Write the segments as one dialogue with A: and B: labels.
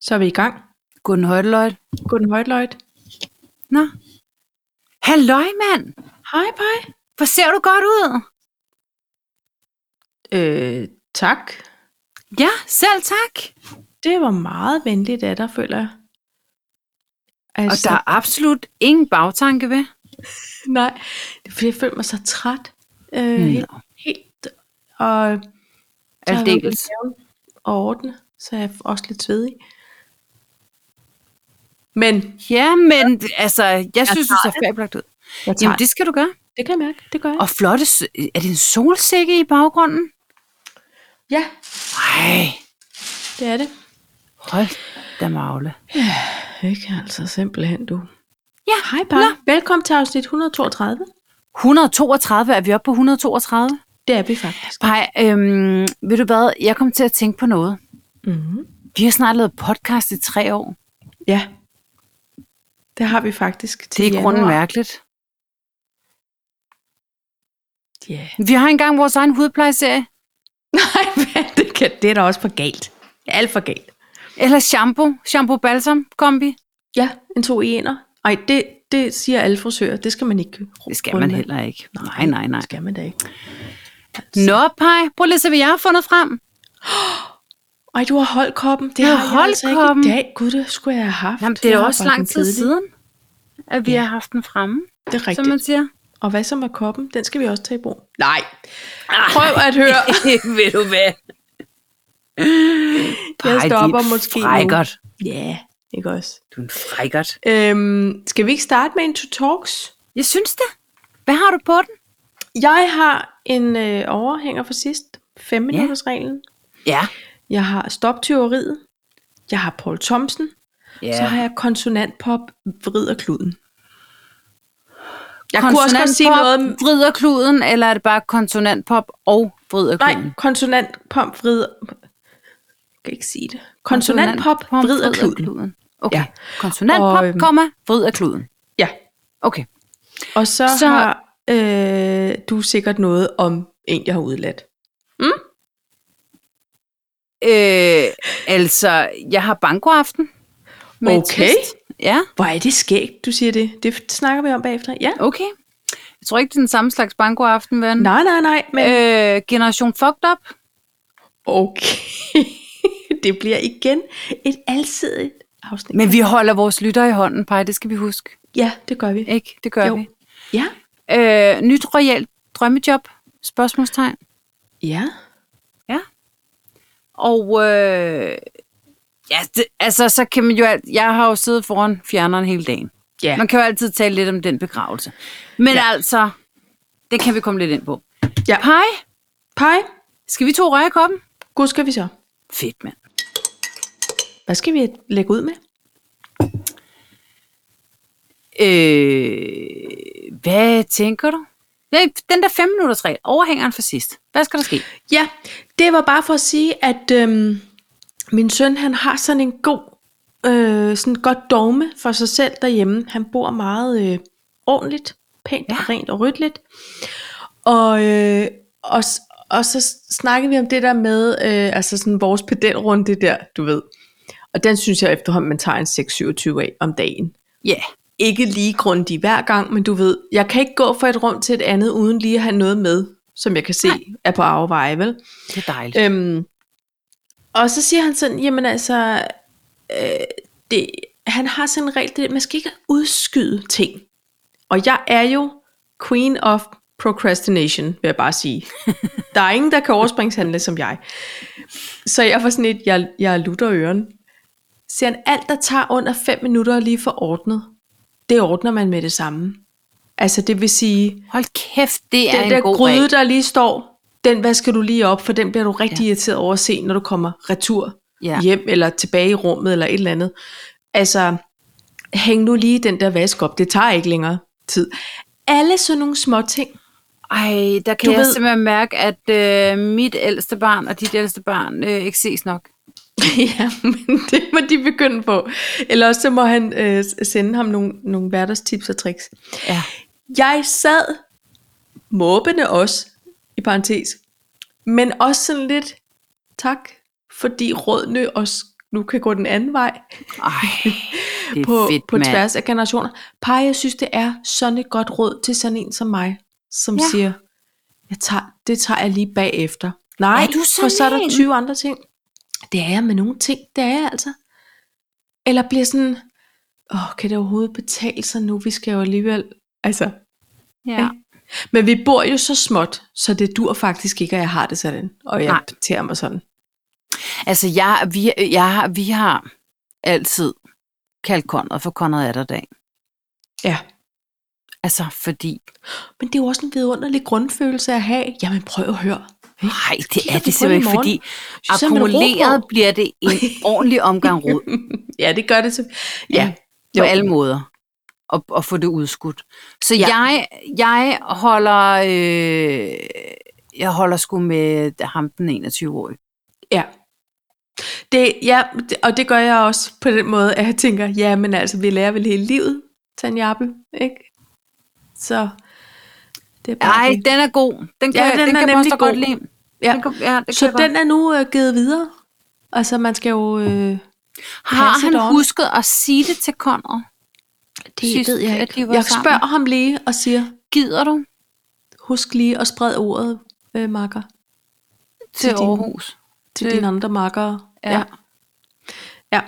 A: Så er vi i gang.
B: Guten Højteløjt.
A: Guten Højtløjt.
B: Nå. Halløj, mand.
A: Hej, Paj.
B: Hvor ser du godt ud.
A: Øh, tak.
B: Ja, selv tak.
A: Det var meget venligt af dig, føler jeg. Altså,
B: Og der er absolut ingen bagtanke ved.
A: Nej, det er fordi, jeg føler mig så træt. Øh, helt, helt. Og så har jeg været
B: Aldeles.
A: på maven og ordne, så jeg er også lidt svedig. Men
B: Ja, men altså, jeg, synes, du
A: tager
B: ser fabelagt ud.
A: jeg tager
B: Jamen,
A: det.
B: det skal du gøre.
A: det kan jeg mærke, det gør jeg.
B: Og flotte, s- er det en solsikke i baggrunden?
A: Ja,
B: Nej,
A: det er det.
B: hold da magle.
A: Ikke altså simpelthen du.
B: Ja,
A: Hej Paj. Velkommen til afsnit 132.
B: 132, er vi oppe på 132?
A: Det er vi faktisk.
B: Nej, øhm, ved du hvad, jeg kom til at tænke på noget.
A: Mm-hmm.
B: Vi har snart lavet podcast i tre år.
A: Ja. Det har vi faktisk
B: Det
A: til
B: er i grunden
A: januar.
B: mærkeligt.
A: Ja.
B: Vi har engang vores egen hudplejeserie.
A: Nej, men det, kan, det er da også for galt. Alt for galt.
B: Eller shampoo, shampoo-balsam-kombi.
A: Ja, en to ener. Ej, det, det siger alle frisører. Det skal man ikke.
B: Det skal man heller ikke. Nej, nej, nej.
A: Det skal man da ikke.
B: Nå, Paj, prøv lige at se, hvad jeg har fundet frem.
A: Ej, du har holdt koppen. Det
B: Jeg
A: har
B: har
A: jeg altså ikke
B: holdkoppen.
A: i dag. Gud, det skulle jeg have haft.
B: Jamen, det er
A: Jeg
B: jo
A: har
B: også
A: bare
B: lang
A: den
B: tid
A: kedelige.
B: siden, at vi har haft den fremme,
A: Det er
B: som
A: rigtigt.
B: man siger.
A: Og hvad så med koppen? Den skal vi også tage i brug. Nej. Prøv at høre.
B: Ah, Ved du hvad?
A: Jeg stopper måske nu.
B: frækkert.
A: Ja, ikke også?
B: Du er en frækkert.
A: Øhm, skal vi ikke starte med en to talks?
B: Jeg synes det. Hvad har du på den?
A: Jeg har en øh, overhænger for sidst. 5 minutters reglen.
B: Ja.
A: Jeg har stop tyveriet. Jeg har Paul Thomsen.
B: ja.
A: Så har jeg konsonantpop vrider kluden. Jeg kunne også godt sige noget om...
B: Vrider kluden, eller er det bare konsonantpop og vrider
A: Nej,
B: kluden?
A: konsonantpop vrider... Jeg kan ikke sige det. Konsonantpop vrider kluden.
B: Okay.
A: Ja.
B: Ja. Konsonantpop,
A: Og, øhm,
B: komma, vrider kluden.
A: Ja.
B: Okay.
A: Og så, så...
B: Så-
A: har øh, du sikkert noget om en, jeg har udladt.
B: Øh, altså, jeg har bankoaften. med et
A: Okay.
B: twist. Ja,
A: Hvor er det skægt, du siger det. Det snakker vi om bagefter. Ja.
B: okay. Jeg tror ikke, det er den samme slags bankoaften, ven.
A: Nej, nej, nej. Men
B: Øh, generation fucked up.
A: okay. det bliver igen et alsidigt afsnit.
B: Men vi holder vores lytter i hånden, Paj, det skal vi huske.
A: Ja, det gør vi.
B: Ikke? Det gør
A: Jo.
B: vi.
A: Ja.
B: Øh, nyt royalt drømmejob? Spørgsmålstegn.
A: Ja.
B: Og øh, ja, det, altså, så kan man jo alt, jeg har jo siddet foran fjerneren hele dagen.
A: Ja.
B: Man kan jo altid tale lidt om den begravelse. Men
A: Ja.
B: ja. altså, det kan vi komme lidt ind på.
A: Ja.
B: Pej,
A: Pej,
B: skal vi to røre koppen?
A: god skal vi så.
B: Fedt, mand.
A: Hvad skal vi lægge ud med?
B: Øh, hvad tænker du? Nej, Den der 5 minutters regel, overhængeren for sidst. Hvad skal der ske?
A: Ja, det var bare for at sige, at øhm, min søn han har sådan en god, øh, sådan et godt dogme for sig selv derhjemme. Han bor meget øh, ordentligt, pænt ja. og rent og ryddeligt. Og, øh, og, s- og så snakkede vi om det der med, øh, altså sådan vores pedalrunde der, du ved. Og den synes jeg efterhånden, man tager en 6-27 af om dagen.
B: Ja. Yeah.
A: Ikke lige grundig hver gang, men du ved, jeg kan ikke gå fra et rum til et andet, uden lige at have noget med, som jeg kan se Nej. er på arveveje, vel?
B: Det er dejligt.
A: Øhm, og så siger han sådan, jamen altså, øh, det, han har sådan en regel, det, man skal ikke udskyde ting. Og jeg er jo queen of procrastination, vil jeg bare sige. Der er ingen, der kan overspringshandle som jeg. Så jeg var sådan lidt, jeg, jeg lutter øren. Så Siger han, alt der tager under 5 minutter lige for ordnet, det ordner man med det samme. Altså det vil sige,
B: Hold kæft, det er
A: den
B: en
A: der
B: god
A: gryde,
B: regel.
A: der lige står, den vasker du lige op, for den bliver du rigtig ja. irriteret over at se, når du kommer retur ja.
B: Ja.
A: hjem, eller tilbage i rummet, eller et eller andet. Altså, hæng nu lige den der vask op, det tager ikke længere tid. Alle sådan nogle små ting.
B: Ej, der kan
A: Du
B: du jeg
A: ved-
B: ved... simpelthen mærke, at øh, mit ældste barn og dit ældste barn øh, ikke ses nok.
A: ja, men det må de begynde på. Eller også så må han øh, sende ham nogle, nogle hverdagstips og tricks.
B: Ja.
A: Jeg sad måbende også, i parentes, men også sådan lidt tak, fordi rådene også nu kan gå den anden vej
B: Ej, det er
A: på,
B: fedt,
A: på
B: mand.
A: tværs af generationer. Par, jeg synes, det er sådan et godt råd til sådan en som mig, som
B: Ja.
A: ja. siger, jeg tager, det tager jeg lige bagefter. Nej,
B: Er du
A: for
B: sådan
A: så er der
B: en?
A: 20 andre ting. Det er jeg med nogle ting, det er jeg altså. Eller bliver sådan, åh, kan det overhovedet betale sig nu? Vi skal jo alligevel, altså.
B: Ja.
A: Men vi bor jo så småt, så det dur faktisk ikke, at jeg har det sådan. Og jeg
B: Nej.
A: tærer mig sådan.
B: Altså, jeg, vi, jeg, har- vi har altid kaldt Conrad for Conrad Atterdag.
A: Ja.
B: Altså, fordi...
A: Men det er jo også en vidunderlig grundfølelse at have. Jamen prøv at høre.
B: Nej, det
A: kigger
B: er
A: vi på
B: det
A: det i
B: simpelthen,
A: morgen.
B: fordi
A: Så er man
B: akkumuleret
A: rå på.
B: bliver det en ordentlig omgang rod.
A: ja, det gør det til.
B: Ja,
A: Ja,
B: på
A: Jo.
B: alle måder. Og, og få det udskudt. Så ja.
A: Ja.
B: jeg, jeg holder... Øh, jeg holder sgu med ham den 21-årige.
A: ja. Det, ja, det- og det gør jeg også på den måde, at jeg tænker, ja, men altså, vi lærer vel hele livet, Tanjappe, ikke? Så det er bare
B: Nej,
A: det.
B: den er god. Den kan,
A: Ja,
B: den
A: den
B: den
A: er
B: kan
A: nemlig
B: Moster godt
A: god.
B: lide.
A: Ja.
B: Den kan, ja, det
A: Så
B: kan jeg
A: den er nu øh, givet videre. Altså, man skal jo... Øh,
B: godt. Har
A: passe
B: han
A: det ordentligt.
B: husket at sige det til Conrad?
A: det
B: Sidst,
A: ved jeg
B: at de
A: ikke.
B: var
A: Jeg
B: sammen.
A: spørger ham lige og siger,
B: Gider du
A: husk lige at sprede ordet, øh, makker,
B: til,
A: Til
B: til
A: din-
B: Aarhus?
A: til
B: Det-
A: dine andre makkere.
B: Ja.
A: Ja.
B: Ja.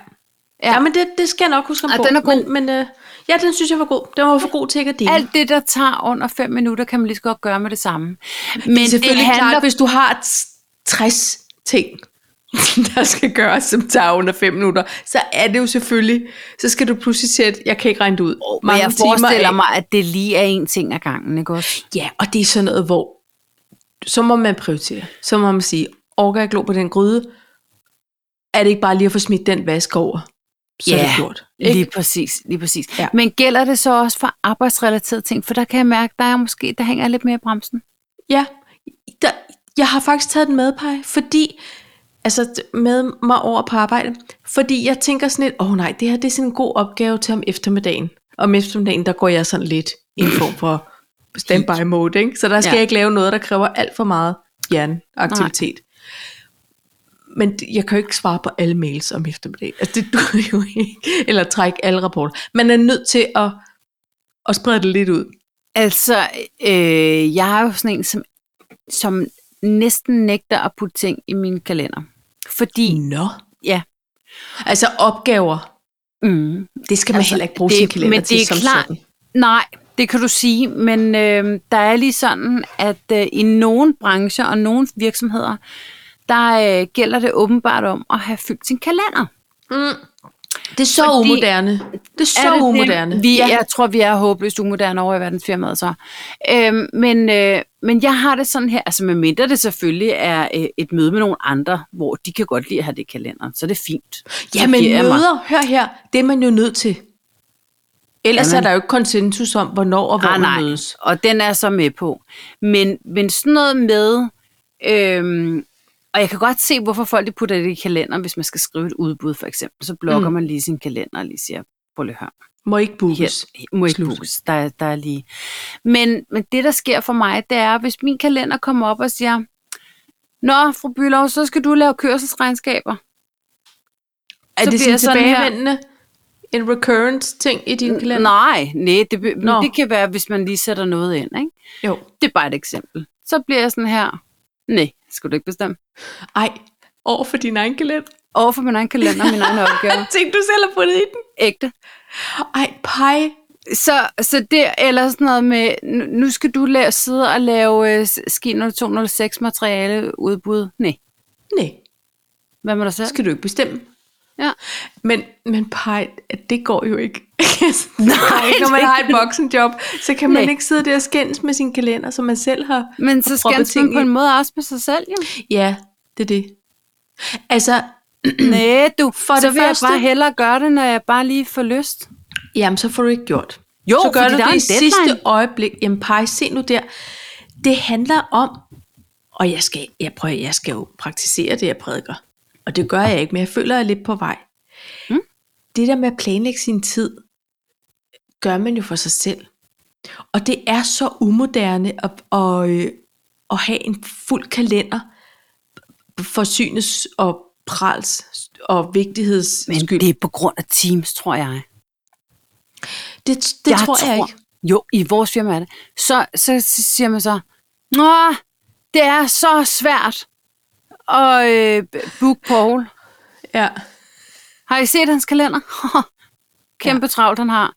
A: Ja, men det, det skal jeg nok huske om
B: Ej,
A: på.
B: den er god.
A: Men, men øh, ja, den synes jeg var god. Den var for god til ikke at dele.
B: Alt det, der tager under 5 minutter, kan man lige så godt gøre med det samme. Men
A: det er
B: det
A: selvfølgelig
B: handler
A: klart, hvis du har t- 60 ting, der skal gøres, som tager under 5 minutter, så er det jo selvfølgelig, så skal du pludselig sætte, jeg kan ikke regne det ud, oh,
B: Men jeg forestiller mig, at det lige er en ting ad gangen, ikke også?
A: Ja, og det er sådan noget, hvor så må man prioritere. Så må man sige, orker jeg glo på den gryde? Er det ikke bare lige at få smidt den vask over? Så er det gjort. Ikke?
B: Lige præcis, lige præcis. Ja.
A: Ja.
B: Men gælder det så også for arbejdsrelaterede ting? For der kan jeg mærke, der er måske, der hænger jeg lidt mere i bremsen.
A: Ja, der, jeg har faktisk taget den med, Paj, fordi, altså t- med mig over på arbejde, fordi jeg tænker sådan lidt, åh oh, nej, det her det er sådan en god opgave til om eftermiddagen. Om eftermiddagen, der går jeg sådan lidt i en form for standby mode, ikke? Så der skal
B: Ja.
A: ja. jeg ikke lave noget, der kræver alt for meget hjerneaktivitet. Men d- jeg kan jo ikke svare på alle mails om eftermiddagen. Altså, det dur jo ikke. Eller trække alle rapporter. Man er nødt til at, at sprede det lidt ud.
B: Altså, øh, jeg er jo sådan en, som, som næsten nægter at putte ting i min kalender. Fordi, mm.
A: Nå.
B: ja.
A: Altså opgaver.
B: Mm.
A: Det skal man altså,
B: Altså,
A: heller ikke bruge det,
B: det-
A: sin kalender
B: men det
A: til
B: er
A: som
B: klart-
A: sådan.
B: Nej, det kan du sige, men øh, der er lige sådan, at øh, i nogle brancher og nogle virksomheder, der øh, gælder det åbenbart om at have fyldt sin kalender.
A: Det er så
B: Fordi-
A: Fordi, umoderne. Det er så
B: Er det det?
A: umoderne.
B: Vi, ja. Jeg tror, vi er håbløst umoderne over i verdensfirmaet så. Øhm, men, øh, men jeg har det sådan her, altså med mindre det selvfølgelig er øh, et møde med nogle andre, hvor de kan godt lide at have det i kalenderen, så er det fint. Så
A: ja, men
B: giver jeg mig.
A: møder, hør her, det er man jo nødt til. Ellers
B: Jamen.
A: er der jo ikke konsensus om, hvornår og hvor
B: Ah,
A: man
B: nej,
A: mødes.
B: og den er jeg så med på. Men, men sådan noget med, øhm, og jeg kan godt se, hvorfor folk de putter det i kalenderen, hvis man skal skrive et udbud for eksempel, så blokker mm. man lige sin kalender og lige siger, prøv lige at høre.
A: Må ikke bookes.
B: Yes. Må ikke
A: Slut.
B: bookes. Der, er- der er lige. Men, men det, der sker for mig, det er, hvis min kalender kommer op og siger, Nå, fru Bylov, så skal du lave kørselsregnskaber.
A: Er
B: Så
A: det
B: bliver
A: sådan
B: jeg sådan her.
A: tilbagevendende? En recurrent ting i din kalender?
B: Nej, nej det, be-
A: Nå.
B: men det kan være, hvis man lige sætter noget ind. Ikke?
A: Jo.
B: Det er bare et eksempel. Så bliver jeg sådan her, nej, skulle du ikke bestemme.
A: Ej, over for din egen kalender.
B: Over for min egen kalender og min egen opgave.
A: Tænk, du selv har puttet i den.
B: Ægte.
A: Ej, pej.
B: Så, så det eller sådan noget med, nu, nu skal du lave, sidde og lave øh, ski 0206 materiale udbud. Nej,
A: Nej,
B: hvad med dig selv?
A: det skal du ikke bestemme.
B: Ja.
A: Men, men pej, det går jo ikke. Altså, det går ikke, når man
B: det-
A: har et voksenjob, så kan man
B: Nej.
A: ikke sidde der og skændes med sin kalender, som man selv har.
B: Men så
A: proppe
B: skændes man
A: ting
B: på
A: i.
B: en måde også med sig selv, jo.
A: Ja, det er det. Altså,
B: Næh, du. For så
A: det
B: vil
A: første-
B: jeg bare hellere gøre det, når jeg bare lige får lyst.
A: jamen, så får du ikke gjort.
B: Jo,
A: så gør
B: fordi
A: du
B: der er
A: det i
B: en deadline.
A: sidste øjeblik. Jamen, pej, se nu der. Det handler om, og jeg skal, jeg, prøver, jeg skal jo praktisere det, jeg prædiker. Og det gør jeg ikke, men jeg føler, jeg er lidt på vej. Mm. Det der med at planlægge sin tid, gør man jo for sig selv. Og det er så umoderne at, at, øh, at have en fuld kalender forsynes og prals og vigtigheds
B: Men
A: skyld.
B: det er på grund af Teams, tror jeg.
A: Det, det tror jeg ikke.
B: Jo, i vores firma er det. Så, så siger man så, Nå, det er så svært at øh, booke Paul.
A: Ja.
B: Har I set hans kalender? Kæmpe ja. travlt, han har.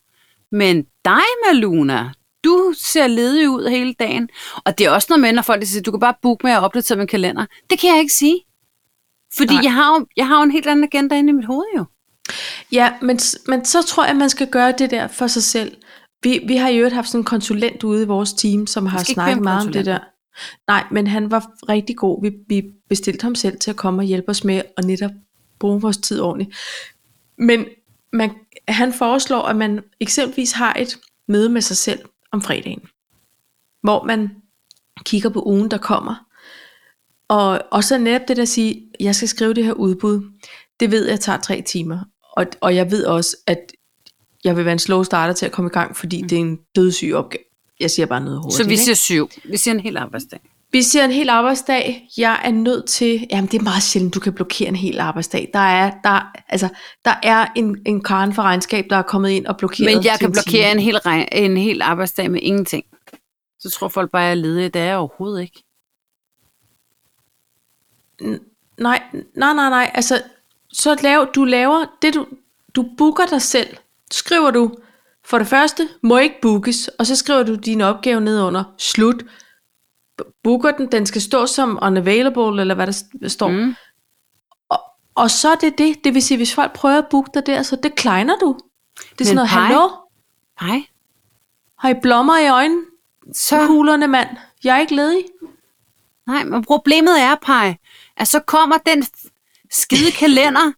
B: Men dig, Maluna, du ser ledig ud hele dagen. Og det er også noget med, når folk de siger, du kan bare booke med at opdatere min kalender. Det kan jeg ikke sige. Fordi
A: Nej.
B: jeg har, jo, jeg har jo en helt anden agenda inde i mit hoved jo.
A: Ja, men, s- men så tror jeg, at man skal gøre det der for sig selv. Vi, vi har i øvrigt haft sådan en konsulent ude i vores team, som har
B: skal ikke
A: snakket
B: være
A: meget om det der.
B: konsulenter.
A: Nej, men han var rigtig god. Vi, vi bestilte ham selv til at komme og hjælpe os med at netop bruge vores tid ordentligt. Men man, han foreslår, at man eksempelvis har et møde med sig selv om fredagen, hvor man kigger på ugen, der kommer, og, og så netop det der at sige, jeg skal skrive det her udbud, det ved jeg tager tre timer. Og, og jeg ved også, at jeg vil være en slow starter til at komme i gang, fordi mm. det er en dødssyg opgave. Jeg siger bare noget hurtigt.
B: Så vi
A: ikke?
B: siger syv. Vi siger en hel arbejdsdag.
A: vi siger en hel arbejdsdag. Jeg er nødt til... Jamen, det er meget sjældent, du kan blokere en hel arbejdsdag. Der er, der, altså, der er en, en karen for regnskab, der er kommet ind og blokeret.
B: Men jeg
A: til
B: kan
A: en time.
B: blokere en hel, regn, en hel arbejdsdag med ingenting. Så tror folk bare, at jeg er ledig. Det er jeg overhovedet ikke.
A: Nej, nej, nej, nej. Altså, så lav, du laver det, du, du booker dig selv. Skriver du, for det første, må ikke bookes, og så skriver du din opgave ned under, slut. B- Booker den, den skal stå som unavailable, eller hvad der s- står. Mm.
B: Mm.
A: Og, og så er det det, det vil sige, hvis folk prøver at booke dig der, så det kleiner du. Det er sådan
B: Men
A: noget,
B: hej.
A: hallo,
B: Nej.
A: har I blommer i øjnene?
B: Så
A: Kuglerne, mand. Jeg er ikke ledig.
B: Nej, men problemet er, Paj, at så kommer den f- skide kalender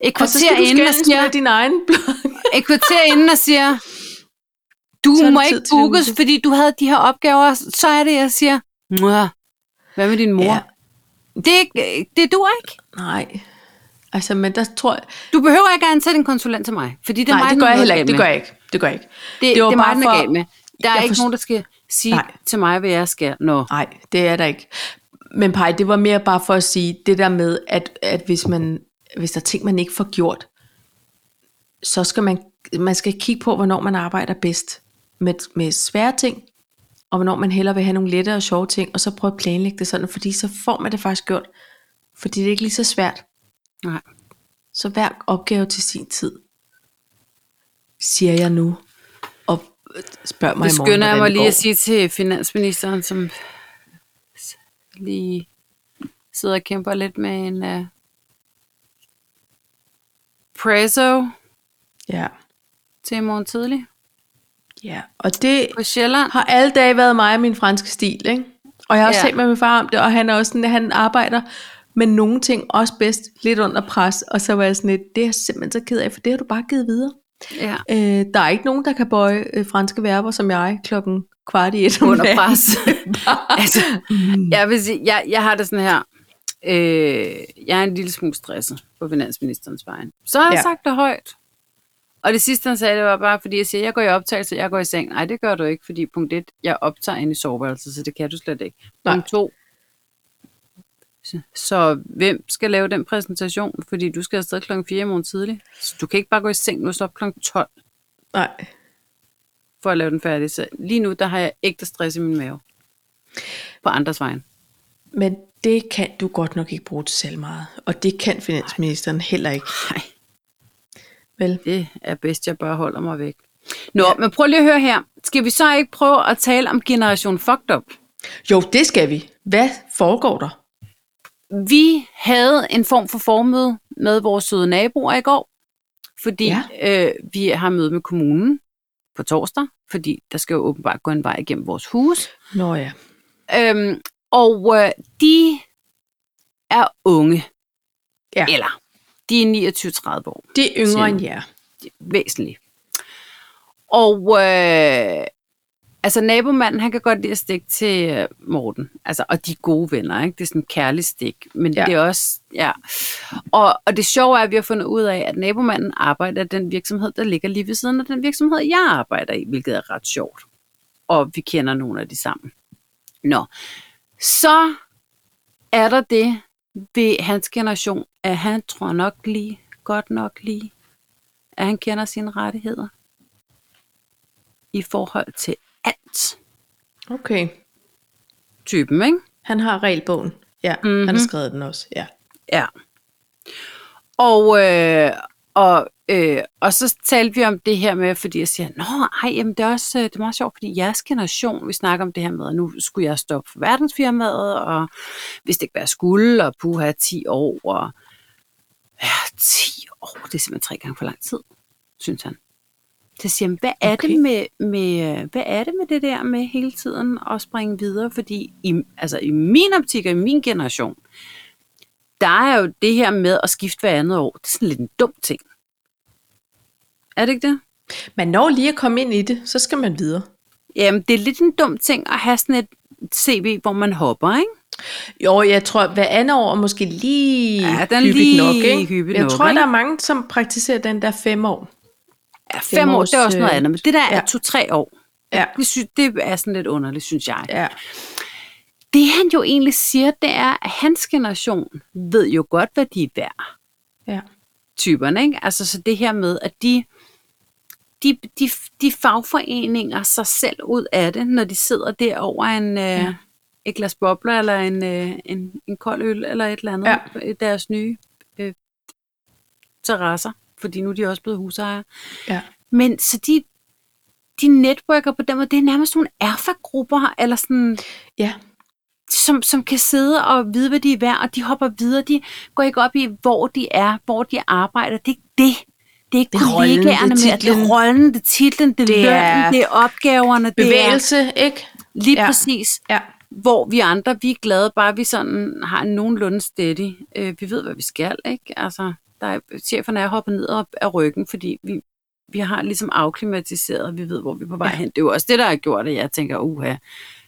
B: et
A: Og Altså, så skal
B: kvarter,
A: du
B: inden og,
A: skændes
B: siger,
A: med din egen blog.
B: et kvarter inden og siger,
A: Så er
B: du
A: det
B: må
A: tid
B: ikke
A: til
B: bookes,
A: det.
B: fordi du havde de her opgaver. Så er det, jeg siger, Mwah. hvad med din mor?
A: Ja.
B: Ja. Det, er ikke- det du ikke.
A: Nej. Altså, men der tror jeg,
B: Du behøver ikke at ansætte en konsulent til mig, fordi det er
A: Nej,
B: mig,
A: det
B: den
A: gør
B: er
A: jeg
B: noget
A: heller ikke.
B: galt
A: Det
B: med.
A: gør jeg ikke. Det gør jeg ikke.
B: Det, det,
A: var
B: det er
A: bare
B: mig, den er
A: for-
B: galt med. Der er
A: Jeg
B: ikke
A: forst-
B: nogen, der skal sige
A: Nej.
B: Nej. til mig, hvad jeg skal. Nå,
A: Nej, det er der ikke. Men Paj, det var mere bare for at sige, det der med, at, at hvis, man, hvis der er ting, man ikke får gjort, så skal man, man skal kigge på, hvornår man arbejder bedst med, med svære ting, og hvornår man hellere vil have nogle lette og sjove ting, og så prøve at planlægge det sådan, fordi så får man det faktisk gjort. Fordi det er ikke lige så svært.
B: Nej.
A: Så hver opgave til sin tid, siger jeg nu, og spørg mig
B: Det
A: i morgen,
B: skynder jeg
A: hvordan
B: mig
A: det
B: lige
A: går.
B: at sige til finansministeren, som s- lige sidder og kæmper lidt med en uh, preso
A: Ja,
B: til i morgen tidlig
A: ja. Og det,
B: på Sjælland.
A: har alle dage været mig og min franske stil, ikke? Og jeg har også ja.
B: Ja.
A: talt med min far om det, og han er også sådan, at han arbejder med nogle ting også bedst, lidt under pres, og så var jeg sådan lidt, det er jeg simpelthen så ked af, for det har du bare givet videre.
B: Ja.
A: Øh, der er ikke nogen, der kan bøje øh, franske verber som jeg klokken kvart i et om
B: Under
A: natten.
B: pres.
A: Bare-
B: Altså,
A: Mm.
B: jeg, vil sige, jeg, jeg har det sådan her. Øh, jeg er en lille smule stresset på finansministerens vej. Så har han
A: Ja.
B: ja. sagt det højt. Og det sidste, han sagde, det var bare, fordi jeg siger, jeg går i optagelse, jeg går i seng. Nej, det gør du ikke, fordi punkt 1, jeg optager inde i soveværelset, så det kan du slet ikke.
A: Nej.
B: Punkt 2, så, så hvem skal lave den præsentation, fordi du skal afsted klokken 4 i morgen tidlig. Så du kan ikke bare gå i seng nu, så op klokken 12
A: Nej.
B: for at lave den færdig. Så lige nu, der har jeg ægte stress i min mave. På andres vejen.
A: Men det kan du godt nok ikke bruge til selv meget, og det kan finansministeren heller ikke,
B: Nej.
A: vel?
B: det er bedst, jeg bare holder mig væk. Nå, ja. men prøv lige at høre her. Skal vi så ikke prøve at tale om generation fucked up?
A: Jo, det skal vi. Hvad foregår der?
B: Vi havde en form for formøde med vores søde naboer i går, fordi ja. øh, vi har møde med kommunen på torsdag, fordi der skal jo åbenbart gå en vej igennem vores hus.
A: Nå ja.
B: Øhm, og øh, de er unge.
A: Ja.
B: Eller, de er 29-30 år.
A: Det er
B: Siger
A: yngre
B: du.
A: end jer.
B: væsentlig. Og øh, altså nabomanden, han kan godt lide at stikke til øh, Morten. Altså, og de er gode venner, ikke? Det er sådan en kærlig stik. Men
A: Ja.
B: ja. det er også, ja. Og, og det sjove er, at vi har fundet ud af, at nabomanden arbejder i den virksomhed, der ligger lige ved siden af den virksomhed, jeg arbejder i, hvilket er ret sjovt. Og vi kender nogle af de sammen. Nå. Så er der det ved hans generation, at han tror nok lige, godt nok lige, at han kender sine rettigheder i forhold til alt
A: Okay.
B: typen, ikke?
A: Han har regelbogen. Ja, mm-hmm. han har
B: Mhm.
A: skrevet den også. Ja.
B: Ja. Og, øh, og, øh, og så talte vi om det her med, fordi jeg siger, nå, ej, jamen det er også øh, det er meget sjovt, fordi jeres generation, vi snakker om det her med, at nu skulle jeg stoppe for verdensfirmaet, og hvis det ikke var jeg skulle, og puha, 10 år, og ja, 10 år, det er simpelthen tre gange for lang tid, synes han. Så siger han, hvad er, okay.
A: Okay.
B: det med, med, hvad er det med det der med hele tiden at springe videre? Fordi i, altså, i min optik og i min generation, der er jo det her med at skifte hver andet år. Det er sådan lidt en dum ting. Er det ikke det?
A: Man når lige at komme ind i det, så skal man videre.
B: Jamen, det er lidt en dum ting at have sådan et CV, hvor man hopper, ikke?
A: Jo, jeg tror, hver andet år er måske lige
B: Ja, den er
A: hyppigt
B: lige
A: nok, ikke?
B: hyppigt
A: jeg
B: nok,
A: tror,
B: ikke?
A: der er mange, som praktiserer den der fem år.
B: Ja, fem år,
A: års,
B: det er også noget
A: øh,
B: andet. Men det der
A: ja.
B: er to-tre år,
A: Ja,
B: det, synes, det er sådan lidt underligt, synes jeg.
A: ja.
B: Det han jo egentlig siger, det er, at hans generation ved jo godt, hvad de er værd.
A: ja.
B: typerne, ikke? Altså så det her med, at de, de, de, de fagforeninger sig selv ud af det, når de sidder der over en, ja. øh, et glas bobler, eller en, øh, en, en kold øl, eller et eller andet,
A: Ja.
B: ja. deres nye øh, terrasser, fordi nu er de også blevet husejere.
A: ja.
B: Men så de, de netværker på den måde, det er nærmest nogle erfagrupper, eller sådan
A: ja.
B: som, som kan sidde og vide, hvad de er værd, og de hopper videre. De går ikke op i, hvor de er, hvor de arbejder. Det er ikke det. Det er ikke
A: Det er rollen, det er
B: kollegaerne med, at det er
A: titlen.
B: rollen, det er titlen, det er
A: Det er
B: lønnen, det er opgaverne,
A: Bevægelse, ikke?
B: det er lige
A: Ja.
B: ja. præcis,
A: Ja.
B: hvor vi andre, vi er glade, bare vi sådan har en nogenlunde steady. Øh, vi ved, hvad vi skal, ikke? Altså, der er, cheferne er hoppet ned op af ryggen, fordi vi, vi har ligesom afklimatiseret, og vi ved, hvor vi er på vej hen. Det er jo også det, der har gjort, at jeg tænker, uha,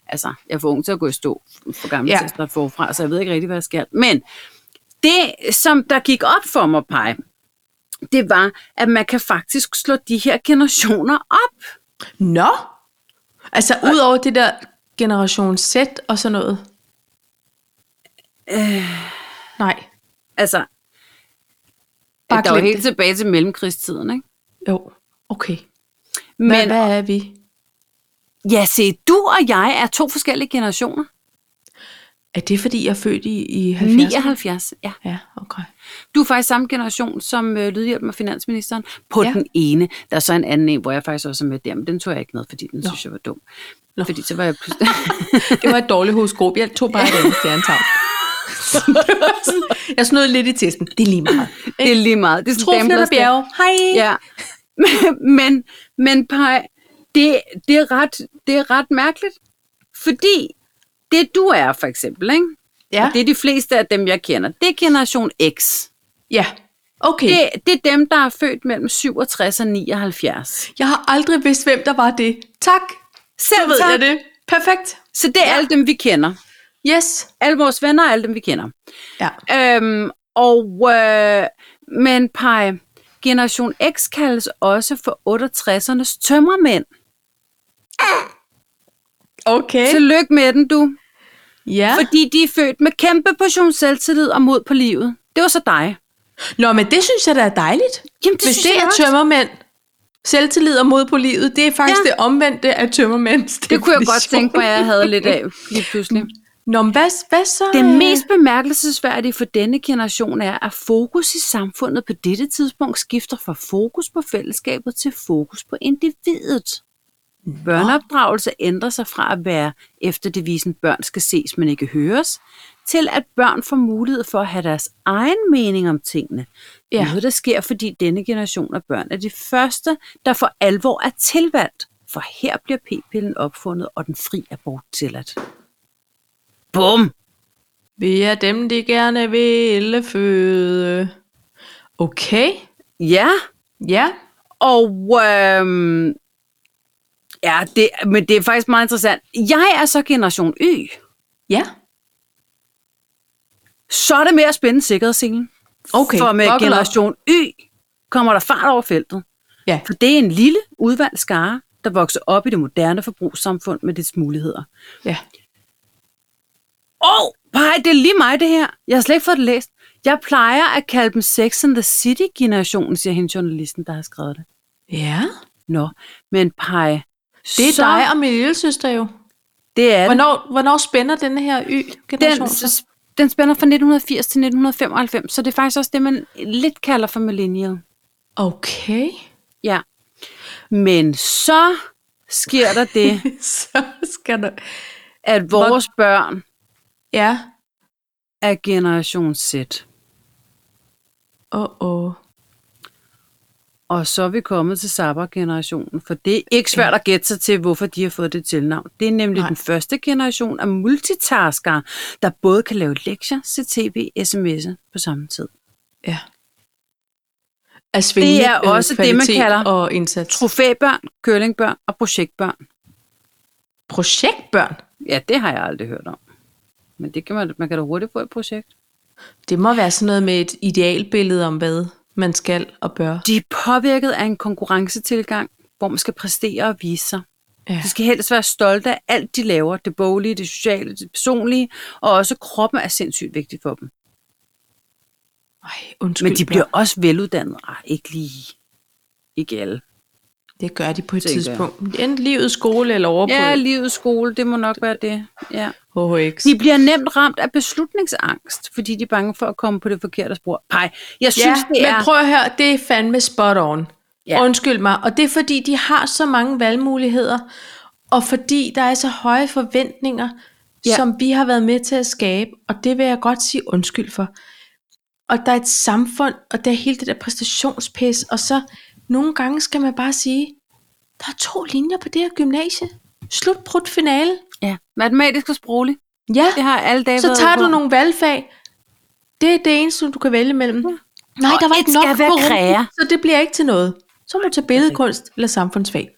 B: altså, jeg er for ung til at gå i stå, for gammel
A: Ja.
B: ja. til at starte forfra, så jeg ved ikke rigtig, hvad jeg skal. Men det, som der gik op for mig, Paj, det var, at man kan faktisk slå de her generationer op.
A: Nå! Altså, ud over det der generation Z og sådan noget. Øh. Nej.
B: Altså,
A: Bare
B: Bare der er jo
A: glem
B: helt
A: det.
B: tilbage til mellemkrigstiden, ikke?
A: Jo. Okay.
B: Men,
A: Hvad, hvad er vi?
B: Ja, se, du og jeg er to forskellige generationer.
A: Er det, fordi jeg er født i, i 70'erne?
B: 79, ja.
A: Ja, okay.
B: Du er faktisk samme generation som øh, lydhjælpen og finansministeren på
A: Ja.
B: ja. den ene. Der er så en anden en, hvor jeg faktisk også er med der, men den tog jeg ikke med, fordi den Nå. synes jeg var dum.
A: Nå.
B: Nå. Fordi så var jeg pludselig...
A: Det var et dårligt horoskop. Jeg tog bare den stjernetavn. jeg snød lidt i testen. Det er lige meget.
B: det er lige meget. Det er sådan
A: Troels
B: Dampler-
A: Bjerge. Hej.
B: Ja. men, men Paj, det, det, er ret, det er ret mærkeligt, fordi det du er for eksempel, ikke?
A: Ja.
B: Og det er de fleste af dem, jeg kender. Det er generation X.
A: ja. Okay. Det.
B: Det, det er dem, der er født mellem 67 og 79.
A: Jeg har aldrig vidst, hvem der var det. Tak. Så
B: Selv
A: ved jeg det. Perfekt.
B: Så det er alle dem, vi kender.
A: Yes.
B: Alle vores venner og alle dem, vi kender.
A: Ja.
B: Øhm, og, øh, men pej, Generation X kaldes også for 68'ernes tømmermænd.
A: Okay.
B: Tillykke med den, du.
A: Ja.
B: Fordi de er født med kæmpe portion selvtillid og mod på livet. Det var så dig.
A: Nå, men det synes jeg da er dejligt.
B: Jamen, det
A: Hvis
B: synes
A: det
B: jeg
A: er
B: også.
A: tømmermænd, selvtillid og mod på livet, det er faktisk ja.
B: Ja.
A: det omvendte af tømmermænds
B: Det kunne jeg godt
A: definition.
B: tænke mig, at jeg havde lidt af lige pludselig.
A: Nå, men hvad, hvad så?
B: Det
A: øh,
B: mest bemærkelsesværdige for denne generation er, at fokus i samfundet på dette tidspunkt skifter fra fokus på fællesskabet til fokus på individet. Børneopdragelse ændrer sig fra at være efter devisen børn skal ses, men ikke høres, til at børn får mulighed for at have deres egen mening om tingene.
A: Ja.
B: Ja. Noget, der sker, fordi denne generation af børn er de første, der for alvor er tilvalgt, for her bliver p-pillen opfundet, og den fri abort tilladt. Bum!
A: Vi er dem, de gerne vil føde. Okay.
B: Ja,
A: Ja.
B: og øhm, ja, det, men det er faktisk meget interessant. Jeg er så generation Y.
A: Ja.
B: Så er det mere spændende sikkerhedsselen.
A: Okay,
B: For med
A: buckle
B: generation Y kommer der fart over feltet.
A: Ja.
B: For det er en lille udvalgt skare, der vokser op i det moderne forbrugssamfund med dets muligheder.
A: Ja.
B: Og Nej, det er lige mig det her. Jeg har slet ikke fået det læst. Jeg plejer at kalde dem Sex and the City-generationen, siger hende journalisten, der har skrevet det.
A: Ja.
B: Nå, men pej.
A: Det er så... dig og min lille søster jo.
B: Det er det.
A: Hvornår, hvornår spænder denne her Y-generation
B: den,
A: sig?
B: den spænder fra 1980 til 1995, så det er faktisk også det, man lidt kalder for millennial.
A: Okay.
B: Ja. Men så sker der det,
A: så skal der...
B: at vores børn
A: Ja.
B: er generation Z,
A: Åh, oh, åh. Oh.
B: og så er vi kommet til Zapper-generationen, for det er ikke svært at gætte sig til, hvorfor de har fået det tilnavn. Det er nemlig
A: Nej.
B: Nej. den første generation af multitaskere, der både kan lave lektier, se tv, sms'er på samme tid.
A: Ja. At svinge,
B: Det er
A: øh,
B: også det, man
A: kvalitet
B: kalder
A: og indsats.
B: Trofæbørn, curlingbørn og projektbørn.
A: Projektbørn.
B: Ja, det har jeg aldrig hørt om. Men det kan man, man kan da hurtigt få et projekt.
A: Det må være sådan noget med et idealbillede om, hvad man skal og bør.
B: De er påvirket af en konkurrencetilgang, hvor man skal præstere og vise sig.
A: Ja.
B: De skal helst være stolte af alt, de laver. Det boglige, det sociale, det personlige, og også kroppen er sindssygt vigtig for dem.
A: Ej, undskyld.
B: Men de bliver også veluddannede. Ah, ikke lige. Ikke alle.
A: Det gør de på et
B: Tænker jeg.
A: tidspunkt. Enten livets skole eller over på
B: Ja, livets skole, det må nok være det. Ja.
A: HHX.
B: De bliver nemt ramt af beslutningsangst, fordi de er bange for at komme på det forkerte spor. Nej, jeg synes,
A: ja,
B: det er...
A: men prøv at høre, det er fandme spot on. Ja.
B: Ja.
A: Undskyld mig. Og det er fordi, de har så mange valgmuligheder, og fordi der er så høje forventninger, ja.
B: Ja.
A: som vi har været med til at skabe, og det vil jeg godt sige undskyld for. Og der er et samfund, og der er hele det der præstationspis, og så nogle gange skal man bare sige, der er to linjer på det her gymnasie. Slut, prut, finale.
B: ja, matematisk og sproglig.
A: Ja.
B: Det har alle dage
A: Så
B: været
A: tager du
B: ude på.
A: nogle valgfag. Det er det eneste, du kan vælge imellem. Nej,
B: Og
A: der var
B: Mm. et
A: ikke nok
B: skal være
A: på rumpen,
B: kræa.
A: så det bliver ikke til noget. Så må du tage billedkunst eller samfundsfag.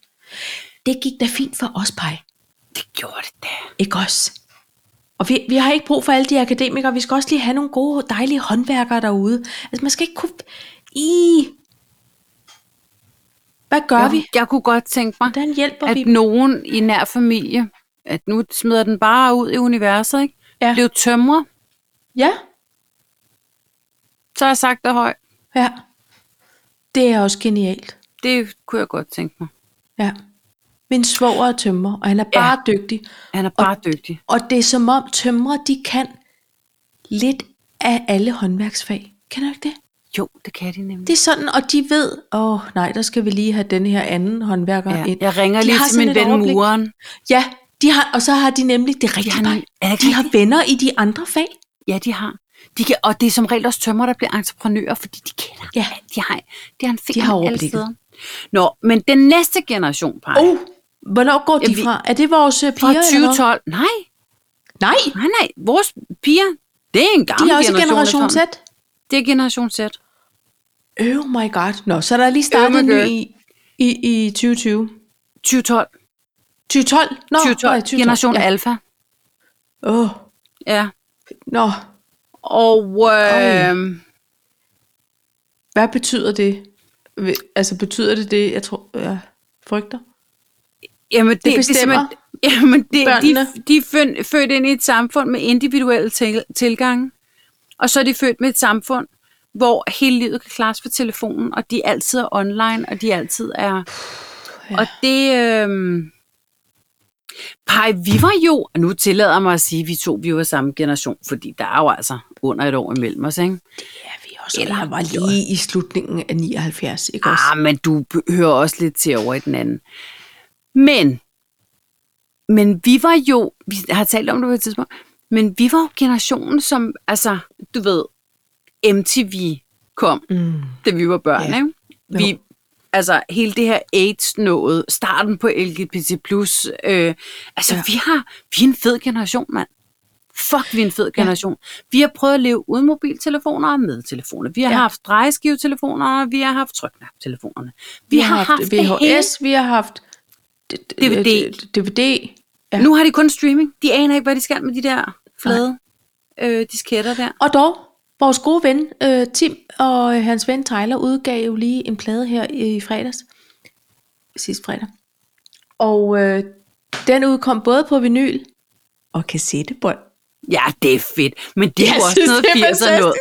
A: Det gik da fint for os, Paj.
B: Det gjorde det da.
A: Ikke os. Og vi, vi har ikke brug for alle de akademikere. Vi skal også lige have nogle gode, dejlige håndværkere derude. Altså, man skal ikke kunne... I... Hvad gør ja. vi?
B: Jeg, jeg kunne godt tænke mig,
A: Hvordan hjælper
B: at
A: vi dem?
B: nogen i nær familie, at nu smider den bare ud i universet, ikke?
A: Ja.
B: Blev tømrer,
A: Ja,
B: så har jeg sagt det højt.
A: ja. Det er også genialt.
B: Det kunne jeg godt tænke mig.
A: Ja. Min svoger er tømmer, og han er bare ja. dygtig.
B: Han er bare og, dygtig.
A: Og det er som om tømrer, de kan lidt af alle håndværksfag. Kan du ikke det?
B: Jo, det kan de nemlig.
A: Det er sådan, og de ved, åh oh, nej, der skal vi lige have den her anden håndværker
B: ja.
A: ind.
B: Jeg ringer
A: De
B: lige
A: har
B: til
A: sådan
B: min
A: et
B: ven
A: overblik.
B: Muren.
A: Ja, de har, og så har de nemlig, det er rigtigt,
B: har
A: de har,
B: nemlig- er det ikke
A: de har venner i de andre fag.
B: Ja, de har. De kan, og det er som regel også tømmer, der bliver entreprenører, fordi de kender.
A: Ja.
B: alt. De har, de har en finger
A: De har
B: alle
A: overblikket.
B: steder. Nå, men den næste generation, Paj,
A: Oh, hvornår går de
B: Jamen, vi-
A: fra? Er det vores øh, piger?
B: fra
A: eller hvad?
B: 2012. Nej,
A: Nej,
B: nej, nej. Vores piger, det er en
A: de
B: gammel
A: er også i generation Z.
B: efterhånden. Det er generation Z.
A: Oh my god. Nå, så er der lige
B: Oh
A: startet
B: my
A: en ny
B: god.
A: i, i, i 2020.
B: 2012.
A: 2012? Nå,
B: 2012.
A: nej,
B: Generation
A: ja.
B: Alpha.
A: Åh,
B: Ja.
A: nå,
B: Og øh,
A: Hvad betyder det? Vil- Altså betyder det det, jeg tror, jeg frygter?
B: jamen, det, det, det er
A: bestemmer
B: simpelthen- jamen, det,
A: børnene.
B: de, de er født, født ind i et samfund med individuelle til, tilgange, og så er de født med et samfund, hvor hele livet kan klares på telefonen, og de altid er online, og de altid er...
A: ja.
B: Ja. Og det... Øh, Pej, vi var jo... og Nu tillader jeg mig at sige, at vi to vi var samme generation, fordi der er jo altså under et år imellem os, ikke?
A: Ja, vi også.
B: Eller
A: Eller var
B: har vi
A: lige i slutningen af 79, ikke også?
B: Ah, men du b- hører også lidt til over i den anden. Men, men vi var jo, vi har talt om det på et tidspunkt, men vi var jo generationen, som, altså, du ved, MTV kom,
A: Mm.
B: da vi var børn,
A: Ja.
B: ja. ikke? Vi, altså, hele det her AIDS-noget, starten på LGBT+, øh, altså,
A: Ja.
B: ja. vi har, vi er en fed generation, mand. Fuck, vi er en fed generation. Ja. Vi har prøvet at leve uden mobiltelefoner og med telefoner. Vi har
A: Ja.
B: ja. haft drejeskivetelefoner, og vi har haft trykknap-telefonerne. Vi, vi har haft, haft det hele.
A: VHS, vi har haft d- d-
B: DVD.
A: d- DVD. Ja.
B: Nu har de kun streaming. De aner ikke, hvad de skal med de der flade øh, disketter der.
A: Og dog, vores gode ven øh, Tim og øh, hans ven Tyler udgav jo lige en plade her i fredags. Sidste fredag. Og øh, den udkom både på vinyl og kassettebånd.
B: Ja, det er fedt. Men det er jo også noget 80'er noget.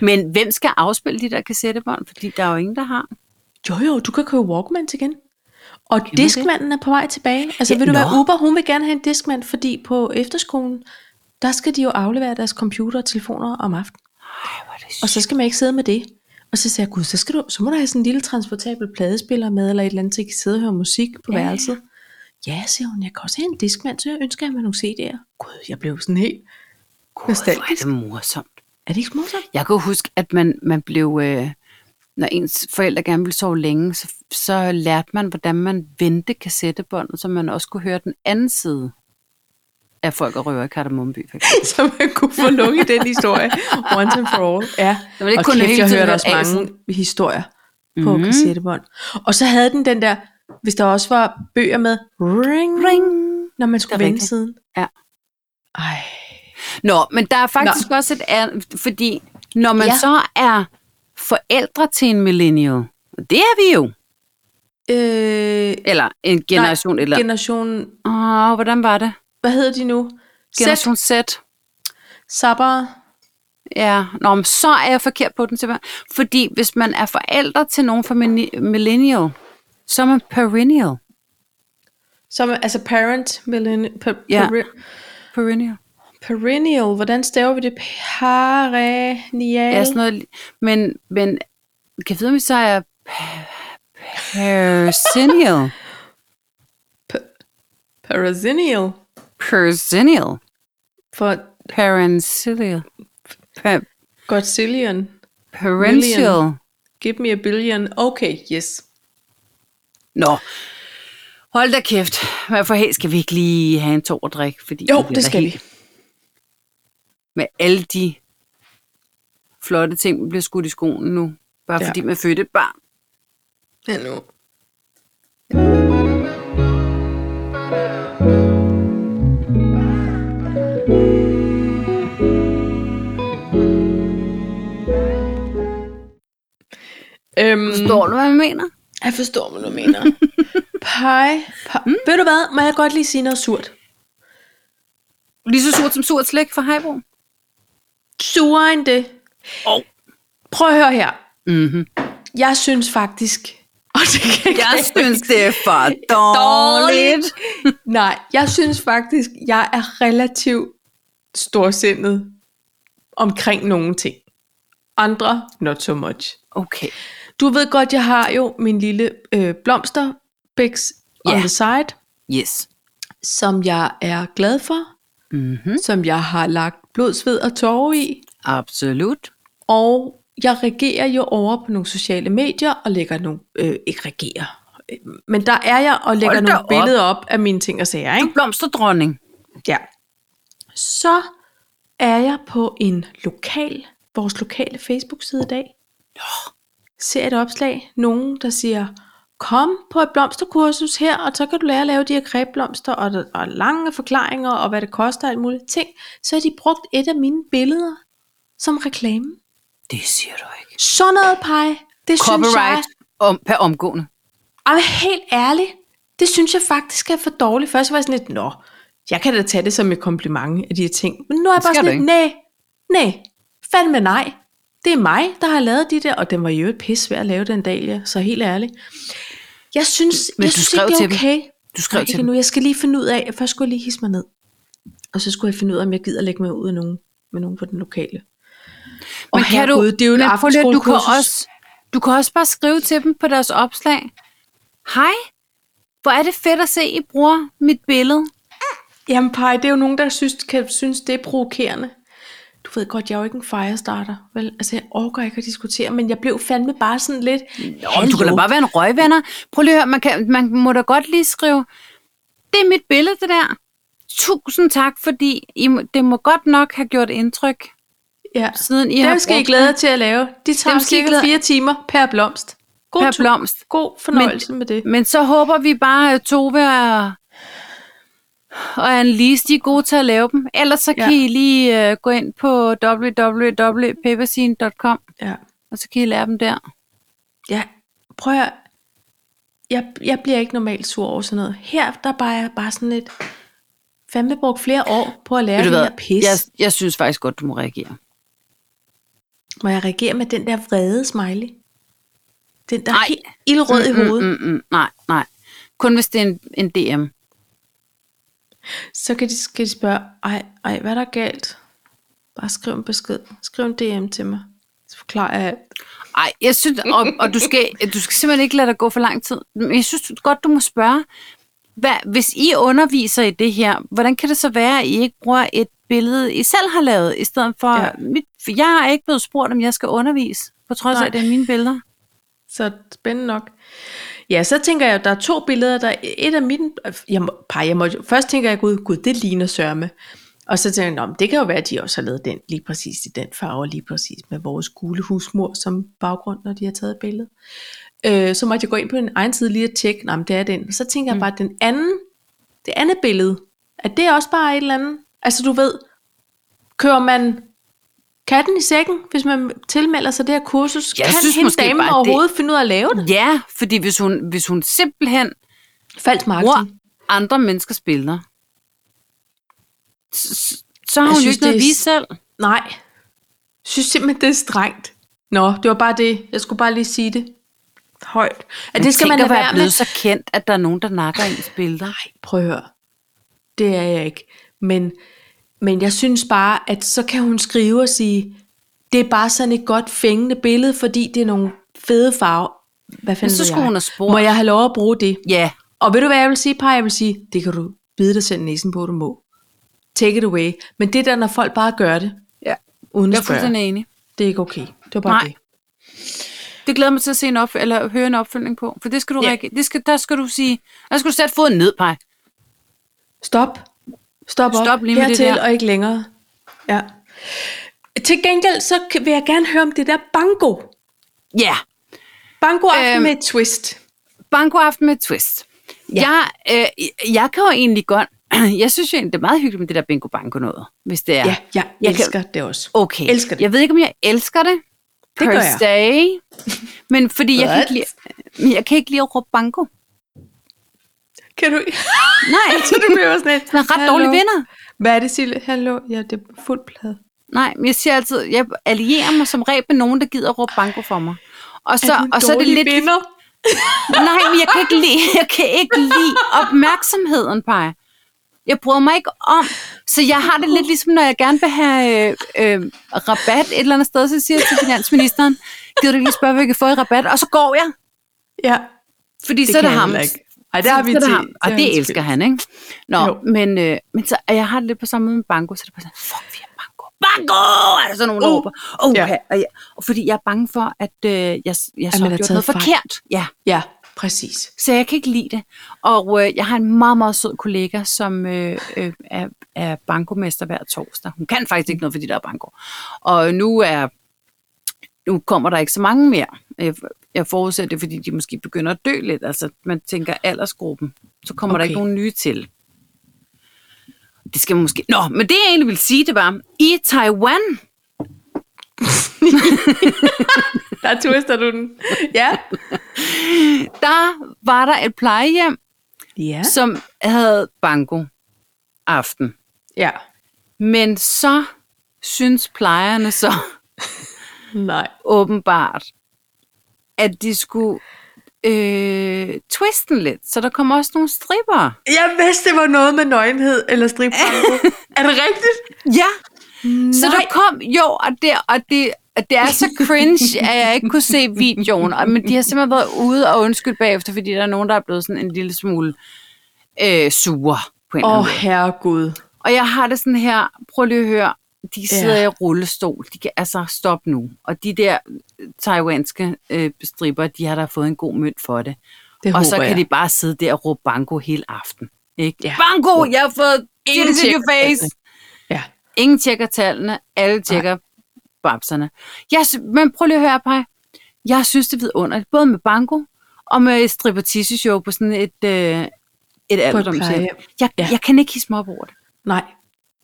B: Men hvem skal afspille de der kassettebånd? Fordi der er jo ingen, der har.
A: Jo, jo, du kan købe Walkman igen. Og
B: man det?
A: diskmanden er på vej tilbage. Altså, ja,
B: Ja,
A: vil du være
B: nå.
A: Uber, hun vil gerne have en diskmand, fordi på efterskolen, der skal de jo aflevere deres computer og telefoner om aftenen.
B: Ej, hvor er det
A: Og så skal man ikke sidde med det. Og så sagde jeg, gud, så, skal du, så må du have sådan en lille transportabel pladespiller med, eller et eller andet, så I kan sidde og høre musik på
B: Ja,
A: ja,
B: ja.
A: værelset. Ja, siger hun, jeg kan også have en diskmand, så jeg ønsker mig nogle CD'er. Gud, jeg blev sådan helt...
B: sjovt. Hvor er
A: nostalgisk.
B: det morsomt.
A: Er det ikke smukt?
B: Jeg kan jo huske, at man, man blev, øh, når ens forældre gerne ville sove længe, så, så lærte man, hvordan man vendte kassettebåndet, så man også kunne høre den anden side af folk og røver i Kardemommeby. for eksempel.
A: så man kunne få lukket den historie once and for all. Ja.
B: Det var ikke
A: og
B: kun hele
A: kæft, jeg
B: tiden
A: hørte
B: hørt
A: også mange historier på
B: Mhm.
A: mm. kassettebånd. Og så havde den den der, hvis der også var bøger med, ring,
B: Ring.
A: når man skulle
B: Det er
A: vende
B: rigtigt.
A: siden.
B: Ja.
A: Ej.
B: Nå, men der er faktisk Nå. også et andet, fordi når man ja.
A: Ja.
B: så er forældre til en millennial, og det er vi jo,
A: Øh,
B: eller en generation, Nej, eller... Gen-
A: generation,
B: Åh, hvordan var det?
A: hvad hedder de nu? Generation.
B: Generation Z.
A: Sabber.
B: Ja, Nå, men så er jeg forkert på den simpelthen. Fordi hvis man er forældre til nogen fra mini- millennial, så er man perennial.
A: Som, altså parent, millenn- per,
B: Ja.
A: ja. per,
B: Perennial.
A: perennial, hvordan staver vi det? Perennial.
B: Ja, sådan noget. li- Men, men kan jeg vide, om vi så er persennial?
A: Perennial.
B: Persennial.
A: For
B: Perensilial. Per-
A: Godzillion.
B: Parental.
A: Give me a billion. Okay, yes.
B: Nå. Hold da kæft. Hvad for helt skal vi ikke lige have en tår og drikke? Fordi
A: Jo,
B: vi bliver
A: det
B: da
A: skal
B: helt-
A: vi.
B: Med alle de flotte ting, vi bliver skudt i skoen nu. Bare
A: Ja.
B: ja.
A: Mm.
B: fordi man fødte et barn.
A: Ja, nu. Øhm,
B: Forstår du, hvad jeg mener?
A: jeg forstår, hvad du mener. Pie. Pie. Mm. Ved du hvad? Må jeg godt lige sige noget surt?
B: Lige så surt som surt slik fra Haibo.
A: Surere end det.
B: Oh.
A: Prøv at høre her.
B: Mm-hmm.
A: Jeg synes faktisk... Og det kan
B: Jeg synes, det er for dårligt.
A: Dårligt. Nej, jeg synes faktisk, jeg er relativt storsindet omkring nogle ting. Andre, not so much.
B: Okay.
A: Du ved godt, jeg har jo min lille øh, blomsterbæks on
B: Ja.
A: the side,
B: Yes.
A: som jeg er glad for,
B: Mm-hmm.
A: som jeg har lagt blod, sved og tårer i.
B: Absolut.
A: Og jeg regerer jo over på nogle sociale medier og lægger nogle... Øh, ikke regerer, øh, men der er jeg og lægger
B: Hold da
A: nogle
B: op.
A: billeder op af mine ting og sager, ikke?
B: Blomsterdronning.
A: Ja. Så er jeg på en lokal, vores lokale Facebook-side i dag. Ser et opslag, nogen der siger, kom på et blomsterkursus her, og så kan du lære at lave de her krebblomster, og, der- og lange forklaringer, og hvad det koster, og alt muligt ting. Så har de brugt et af mine billeder som reklame.
B: Det siger du ikke.
A: Sådan noget, pej. Det synes jeg,
B: Copyright om, per omgående.
A: Jamen helt ærligt, det synes jeg faktisk er for dårligt. Først var jeg sådan lidt, nå, jeg kan da tage det som et kompliment af de her ting. Men nu er jeg
B: Det
A: bare
B: skal du
A: sådan lidt, nej, nej, fandme nej. Det er mig, der har lavet de der, og den var jo et pis svær at lave den Dahlia, så helt ærligt. Jeg synes,
B: Men
A: jeg
B: du
A: synes
B: skrev
A: ikke, det er
B: til
A: okay.
B: Du skrev
A: Nej,
B: til
A: ikke
B: dem.
A: nu. Jeg skal lige finde ud af, først skulle jeg lige hisse mig ned. Og så skulle jeg finde ud af, om jeg gider lægge mig ud af nogen, med nogen på den lokale. Og
B: Men kan du,
A: herregud, det er jo et
B: men prøv lige at- du kan
A: aftenskolekursus.
B: også, du kan også bare skrive til dem på deres opslag. Hej, hvor er det fedt at se, I bruger mit billede.
A: Jamen Paj, det er jo nogen, der synes, kan synes, det er provokerende. Du ved godt, jeg er jo ikke en firestarter. Vel? Altså, jeg orker ikke at diskutere, men jeg blev fandme bare sådan lidt...
B: Om du kan da bare være en røgvander. Prøv lige at høre, man, kan, man må da godt lige skrive, det er mit billede, det der. Tusind tak, fordi I, må- det må godt nok have gjort indtryk,
A: Ja.
B: siden I har
A: Dem skal I
B: brugt
A: glæde jer til at lave. De tager
B: skal I
A: cirka
B: glæde-
A: fire timer per blomst. God,
B: Per
A: tur.
B: blomst.
A: God fornøjelse men, med det.
B: Men så håber vi bare, at Tove og, og Annelise, de er gode til at lave dem. Ellers så kan
A: Ja.
B: I lige uh, gå ind på www.paperscene.com,
A: Ja.
B: og så kan I lære dem der.
A: ja. Prøv at... høre. Jeg, jeg bliver ikke normalt sur over sådan noget. Her, der bare er bare sådan lidt... fandme brugt flere år på at lære
B: Ved
A: det
B: du hvad?
A: her pis.
B: Jeg,
A: Yes.
B: jeg synes faktisk godt, du må reagere.
A: Må jeg reagere med den der vrede smiley? Den der
B: Ej.
A: er helt ildrød i hovedet.
B: Mm, mm, nej, nej. Kun hvis det er en, en DM.
A: Så kan de, kan de spørge, ej, ej, hvad er der galt? Bare skriv en besked. Skriv en DM til mig. Så forklarer jeg alt.
B: Ej, jeg synes, og, og du, skal, du skal simpelthen ikke lade dig gå for lang tid. Men jeg synes godt, du må spørge, hvad, hvis I underviser i det her, hvordan kan det så være, at I ikke bruger et billede, I selv har lavet, i stedet for, ja.
A: Ja.
B: mit, for jeg er ikke blevet spurgt, om jeg skal undervise, på trods af,
A: Nej.
B: at det er mine billeder.
A: Så spændende nok. Ja, så tænker jeg, at der er to billeder. Der er et af mine... Jeg må, par, jeg må, først tænker jeg, gud, gud, det ligner sørme. Og så tænker jeg, Nå, men det kan jo være, at de også har lavet den lige præcis i den farve, og lige præcis med vores gule husmor som baggrund, når de har taget billedet. Øh, så måtte jeg gå ind på den egen side lige og tjekke, Nå, men det er den. Så tænker
B: Mm.
A: jeg bare, at den anden, det andet billede, at det er også bare et eller andet. Altså du ved, kører man katten i sækken, hvis man tilmelder sig det her kursus?
B: Jeg
A: kan
B: synes
A: hende
B: måske
A: damen
B: bare, det-
A: overhovedet finde ud af at lave det?
B: Ja, fordi hvis hun, hvis hun simpelthen
A: Falsk
B: bruger
A: marketing.
B: andre menneskers billeder, s- s- så har
A: Jeg
B: hun jo
A: synes,
B: ikke noget at
A: det er
B: vise selv.
A: Nej. Jeg synes simpelthen, det er strengt. Nå, det var bare det. Jeg skulle bare lige sige det. Højt. At det skal man lade
B: tænker,
A: være
B: være blevet
A: med.
B: så kendt, at der er nogen, der nakker ens billeder.
A: Nej, prøv at høre. Det er jeg ikke. Men, men jeg synes bare, at så kan hun skrive og sige, det er bare sådan et godt fængende billede, fordi det er nogle fede farver. Hvad fanden
B: så
A: ved
B: skulle
A: jeg?
B: hun have spurgt.
A: Må jeg have lov at bruge det?
B: Ja,
A: Og ved du hvad jeg vil sige, Paj? Jeg vil sige, det kan du bide dig selv i næsen på, du må. Take it away. Men det der, når folk bare gør det,
B: ja.
A: uden
B: jeg
A: at
B: er
A: spørge,
B: fuldstændig enig.
A: det er ikke okay. Det var bare
B: Nej.
A: det.
B: Det glæder mig til at se en op, eller høre en opfølgning på, for det skal du
A: Ja.
B: reagere. Det skal, der skal du sige, der skal du sætte foden ned, Paj.
A: Stop. Stop op.
B: Stop lige med det
A: Hertil
B: der.
A: og ikke længere. Ja. Til gengæld, så kan- vil jeg gerne høre om det der bango.
B: Ja,
A: Bango aften
B: Øhm.
A: øhm. med et twist.
B: bankoaften med et twist. Ja. Jeg, øh, jeg kan jo egentlig godt, jeg synes jo egentlig, det er meget hyggeligt med det der bingo banko noget, hvis det
A: Ja,
B: er.
A: jeg
B: Jeg kan-
A: elsker det også.
B: Okay.
A: Elsker det.
B: Jeg ved ikke, om jeg elsker det.
A: Det
B: per
A: gør jeg.
B: se. Men fordi jeg kan,
A: What?
B: ikke lide, men jeg kan ikke lide at råbe banko.
A: Kan du ikke?
B: Nej,
A: så du bliver sådan
B: den er ret dårlig vinder.
A: Hvad er det, Sille? Hallo? Ja, det er fuld plade.
B: Nej, men jeg siger altid, jeg allierer mig som regel med nogen, der gider at råbe banko for mig. Og så,
A: du en
B: og så er det
A: dårlig
B: lidt...
A: Vinder?
B: Nej, men jeg kan ikke lide, jeg kan ikke lide opmærksomheden, Paj. Jeg bryder mig ikke om. Så jeg har det lidt ligesom, når jeg gerne vil have øh, øh, rabat et eller andet sted, så siger jeg til finansministeren, gider du ikke lige spørge, hvad jeg kan få i rabat? Og så går jeg,
A: Ja.
B: fordi det så er
A: kan
B: det
A: jeg
B: ham.
A: heller ikke. Ej, det har vi
B: så er det
A: til.
B: ham. Og det elsker han, ikke? Nå,
A: Jo.
B: men, øh, men så, og jeg har det lidt på samme måde med banko, så det er bare sådan, fuck, vi er banko. Banko! Er der sådan nogen, der
A: Uh,
B: råber? Oh,
A: ja.
B: ja. og, jeg, og fordi jeg er bange for, at øh, jeg, jeg så har
A: man har
B: gjort
A: taget
B: noget
A: fejl.
B: forkert. Ja.
A: Ja, præcis.
B: Så jeg kan ikke lide det. Og øh, jeg har en meget, meget sød kollega, som øh, øh, er, er bankomester hver torsdag. Hun kan faktisk ikke noget, fordi der er banko. Og nu er nu kommer der ikke så mange mere. Jeg, jeg forudser det, er, fordi de måske begynder at dø lidt. Altså, man tænker aldersgruppen. Så kommer okay. der
A: Okay.
B: ikke nogen nye til. Det skal man måske... Nå, men det jeg egentlig ville sige, det var, i Taiwan,
A: Der twister du den. Ja.
B: der var der et plejehjem,
A: Ja.
B: som havde banko aften.
A: Ja.
B: Men så synes plejerne så
A: Nej.
B: åbenbart, at de skulle øh, twiste den lidt. Så der kom også nogle stripper.
A: Jeg vidste, det var noget med nøgenhed eller stripbanko. er det rigtigt?
B: Ja. Nej. Så der kom, jo, og det, og det, og det er så cringe, at jeg ikke kunne se videoen. Og- Men de har simpelthen været ude og undskyldt bagefter, fordi der er nogen, der er blevet sådan en lille smule øh, sure på en eller
A: Åh,
B: anden
A: oh, herregud.
B: Og jeg har det sådan her, prøv lige at høre, de sidder i rullestol, de kan altså stoppe nu. Og de der taiwanske øh, stripper, de har da fået en god mønt for det.
A: Det
B: og så
A: håber
B: kan
A: jeg.
B: de bare sidde der og råbe banko hele aften. Ikke?
A: Ja.
B: Banko, jeg har fået
A: Ingen
B: it in
A: tjekker
B: your face.
A: Ja.
B: Ingen tjekker tallene, alle tjekker Nej. babserne. Jeg, sy- men prøv lige at høre, Paj. Jeg synes, det er vidunderligt, både med banko og med stripper på sådan et, øh, et alderdomshjem.
A: plejehjem.
B: Jeg, ja.
A: Ja.
B: jeg kan ikke hisse mig op over det.
A: Nej.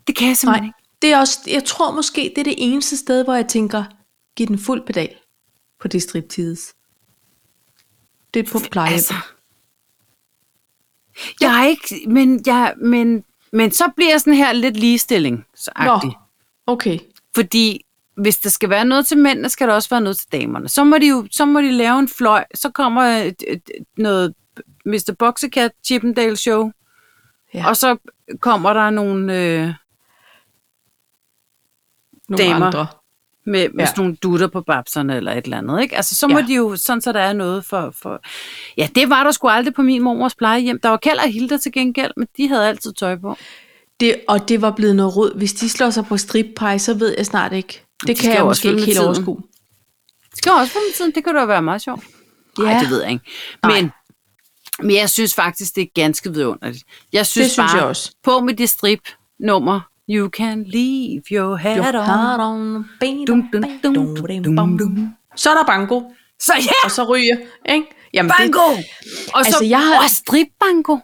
B: Det kan jeg simpelthen
A: Nej.
B: ikke.
A: Det er også, jeg tror måske, det er det eneste sted, hvor jeg tænker, giv den fuld pedal på det striptease. Det er på plejehjem.
B: Altså. Jeg er ikke, men, jeg, men Men så bliver sådan her lidt ligestilling så
A: Nå, okay.
B: Fordi hvis der skal være noget til mændene, skal der også være noget til damerne. Så må de jo så må de lave en fløj. Så kommer øh, et, et, et- noget Mr. Boxecat Chippendale Show.
A: Ja.
B: Ja. Og så kommer der nogle øh,
A: Nogle
B: Damer.
A: andre.
B: med, med
A: Ja.
B: ja. sådan nogle dutter på babserne eller et eller andet. Ikke? Altså, så må
A: Ja.
B: ja. de jo, sådan så der er noget for, for... Ja, det var der sgu aldrig på min mormors plejehjem. Der var Kjeld og Hilda til gengæld, men de havde altid tøj på.
A: Det, og det var blevet noget rod. Hvis de slår sig på strippej, så ved jeg snart ikke. Det
B: de
A: kan
B: skal
A: jeg
B: jo
A: måske
B: også følge
A: ikke
B: med
A: helt
B: tiden.
A: overskue.
B: Det skal også være med tiden. Det kunne da være meget sjovt. Nej,
A: Ja.
B: det ved jeg ikke.
A: Nej.
B: Men, men jeg synes faktisk, det er ganske vidunderligt. Jeg synes
A: synes
B: bare,
A: jeg også.
B: på med det strip nummer You can leave your head
A: Jo.
B: on. Dum, dum, dum, dum, dum, dum.
A: Så er der banko,
B: Så ja,
A: og så ryger, ikke? Jamen,
B: bango! Og så
A: Altså,
B: altså,
A: jeg
B: jeg
A: har-
B: har... strip bango.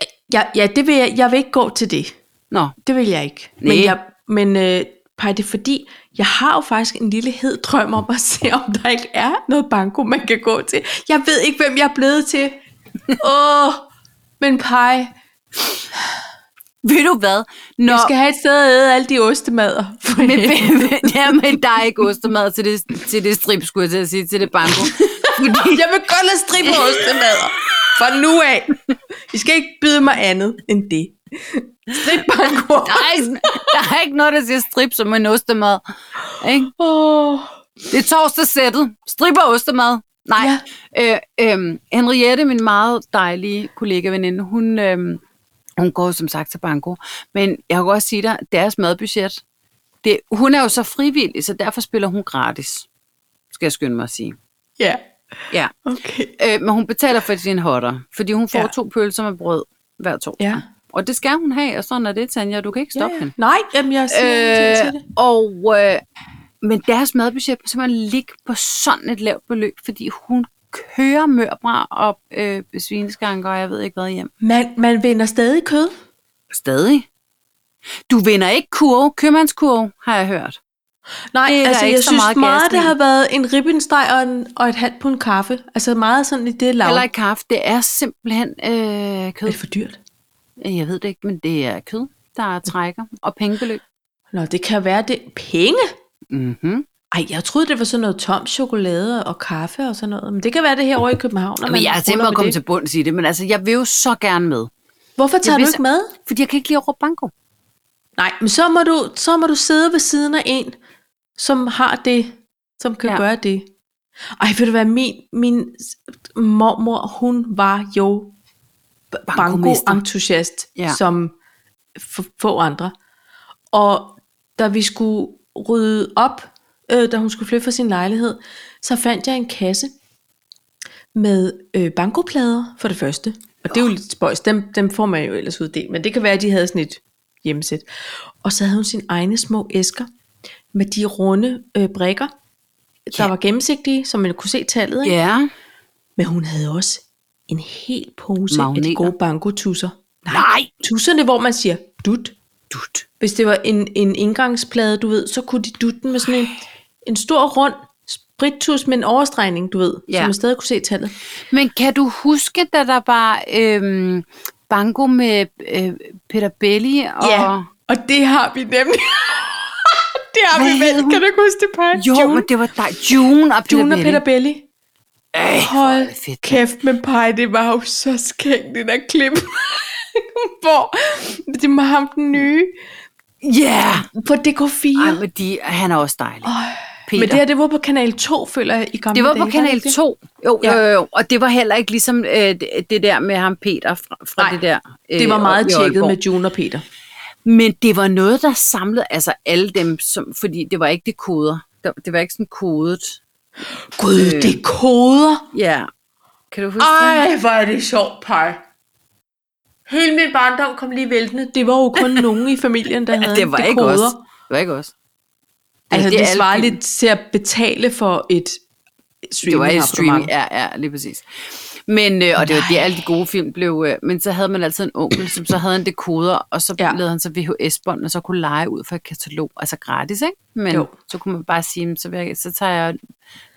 A: Det, ja, ja, det vil jeg, jeg vil ikke gå til det.
B: Nå,
A: Det vil jeg ikke.
B: Næ.
A: Men, jeg, men øh, Paj, det er fordi, jeg har jo faktisk en lille hed drøm om at se, om der ikke er noget banko, man kan gå til. Jeg ved ikke, hvem jeg er blevet til. Åh, men Paj,
B: ved du hvad? Når,
A: jeg skal have et sted at æde alle de ostemader.
B: Men, ja, men der er ikke ostemad til det, til det strip, skulle jeg til at sige, til det banko. Fordi,
A: Jeg vil godt lade stribe ostemader. Fra nu af. I skal ikke byde mig andet end det. Strip banko.
B: der, er ikke, der er ikke noget, der siger strip som en ostemad. Ikke?
A: Åh.
B: Det er torsdagssættet. Stripper og ostemad. Nej.
A: Ja.
B: Ja. Øh, øh, Henriette, min meget dejlige kollega veninde, hun, øh, hun går jo som sagt til banko. Men jeg kan godt sige dig, deres madbudget, det, hun er jo så frivillig, så derfor spiller hun gratis. Skal jeg skynde mig at sige.
A: Ja,
B: Ja.
A: okay.
B: Øh, men hun betaler for sin hotter, fordi hun får
A: Ja.
B: ja. to pølser med brød hver to.
A: Ja.
B: Og det skal hun have, og sådan er det, Tanja. Du kan ikke stoppe ja, hende.
A: Nej, jamen jeg siger øh, til
B: Øh,
A: det.
B: og, øh, men deres madbudget må simpelthen ligge på sådan et lavt beløb, fordi hun kører mørbra og øh, svineskanker, og jeg ved ikke hvad hjem.
A: Man, man vinder stadig kød.
B: Stadig. Du vinder ikke kurve, købmandskurve, har jeg hørt.
A: Nej,
B: Det er Øh, der
A: altså
B: ikke
A: jeg
B: så
A: synes
B: meget
A: meget,
B: gas
A: det
B: i.
A: har været en ribbensteg og, en, og et halvt pund kaffe. Altså meget sådan i det lav.
B: Heller ikke kaffe. Det er simpelthen øh,
A: Er
B: kød.
A: det for dyrt?
B: Jeg ved det ikke, men det er kød, der trækker. Og pengebeløb.
A: Nå, det kan være det. Penge?
B: Mm-hmm.
A: Ej, jeg troede, det var sådan noget tom chokolade og kaffe og sådan noget. Men det kan være det her over i København. når
B: Men jeg har
A: ruller
B: tænkt mig at
A: med
B: komme
A: det.
B: til bunds i det, men altså, jeg vil jo så gerne med.
A: Hvorfor tager du
B: vil
A: ikke
B: så-
A: med?
B: Fordi jeg kan ikke lide at råbe banko.
A: Nej, men så må, du, så må du sidde ved siden af en, som har det, som kan ja.
B: Ja.
A: gøre det. Ej, ved du hvad, min, min mormor, hun var jo
B: Bankomester.
A: banko-entusiast, ja.
B: Ja.
A: som f- få andre. Og da vi skulle rydde op, øh, da hun skulle flytte fra sin lejlighed, så fandt jeg en kasse med øh, bankoplader for det første. Og det er jo lidt spøjs, dem, dem får man jo ellers uddelt, men det kan være, at de havde sådan et hjemmesæt. Og så havde hun sine egne små æsker med de runde øh, brikker, der
B: Ja.
A: var gennemsigtige, så man kunne se tallet. Ikke?
B: Ja.
A: Men hun havde også en hel pose af de
B: Magneter.
A: gode bankotusser.
B: Nej.
A: Tusserne, hvor man siger dut.
B: Dut.
A: Hvis det var en, en indgangsplade, du ved, så kunne de dutte den med sådan en, en stor rund sprittus med en overstregning, du ved, ja.
B: Ja.
A: så man stadig kunne se tallet.
B: Men kan du huske, da der var øhm, banko med øh, Peter Belli? Og...
A: og det har vi nemlig. det har vi
B: Hvad hed
A: med.
B: hun?
A: Kan du ikke huske det, Paj?
B: Jo,
A: June,
B: June. men det var dig. June og Peter
A: June og
B: Belli.
A: Peter Belli.
B: Ej, hvor er
A: Hold
B: det fedt.
A: kæft med Paj, det var jo så skægt, det der klip. Hvor det var ham den nye
B: Ja. Yeah.
A: på DK4.
B: Ej, men de, han er også dejlig. Peter.
A: Men det her, det var på kanal 2, føler jeg, i gamle
B: Det var
A: dage,
B: på kanal
A: det ikke
B: 2. Jo,
A: Ja.
B: jo, jo, jo. Og det var heller ikke ligesom øh, det, det der med ham Peter fra, fra
A: Nej,
B: det der.
A: det?
B: Øh,
A: Det var meget
B: oppe i
A: tjekket
B: Aalborg.
A: med June og Peter.
B: Men det var noget, der samlede altså alle dem, som, fordi det var ikke det koder. Der- Det var ikke sådan kodet.
A: Gud, øh. det er koder.
B: Ja. Kan du huske det?
A: Ej, hvor er det sjovt, Pej. Hele min barndom kom lige væltende. Det var jo kun nogen i familien, der havde
B: Det var
A: en
B: ikke
A: dekoder.
B: os. Det var ikke os.
A: Altså,
B: det
A: det,
B: er
A: det svarer
B: alt-
A: lidt til at betale for et
B: det var i streaming,
A: streaming.
B: ja, ja, lige præcis. Men, øh, og det var det,
A: Nej.
B: alle de gode film blev, øh, men så havde man altid en onkel, som så havde en dekoder, og så ja.
A: Ja.
B: lavede han så VHS-bånd, og så kunne lege ud fra et katalog, altså gratis, ikke? Men jo.
A: Jo.
B: så kunne man bare sige, så, vil jeg, så tager jeg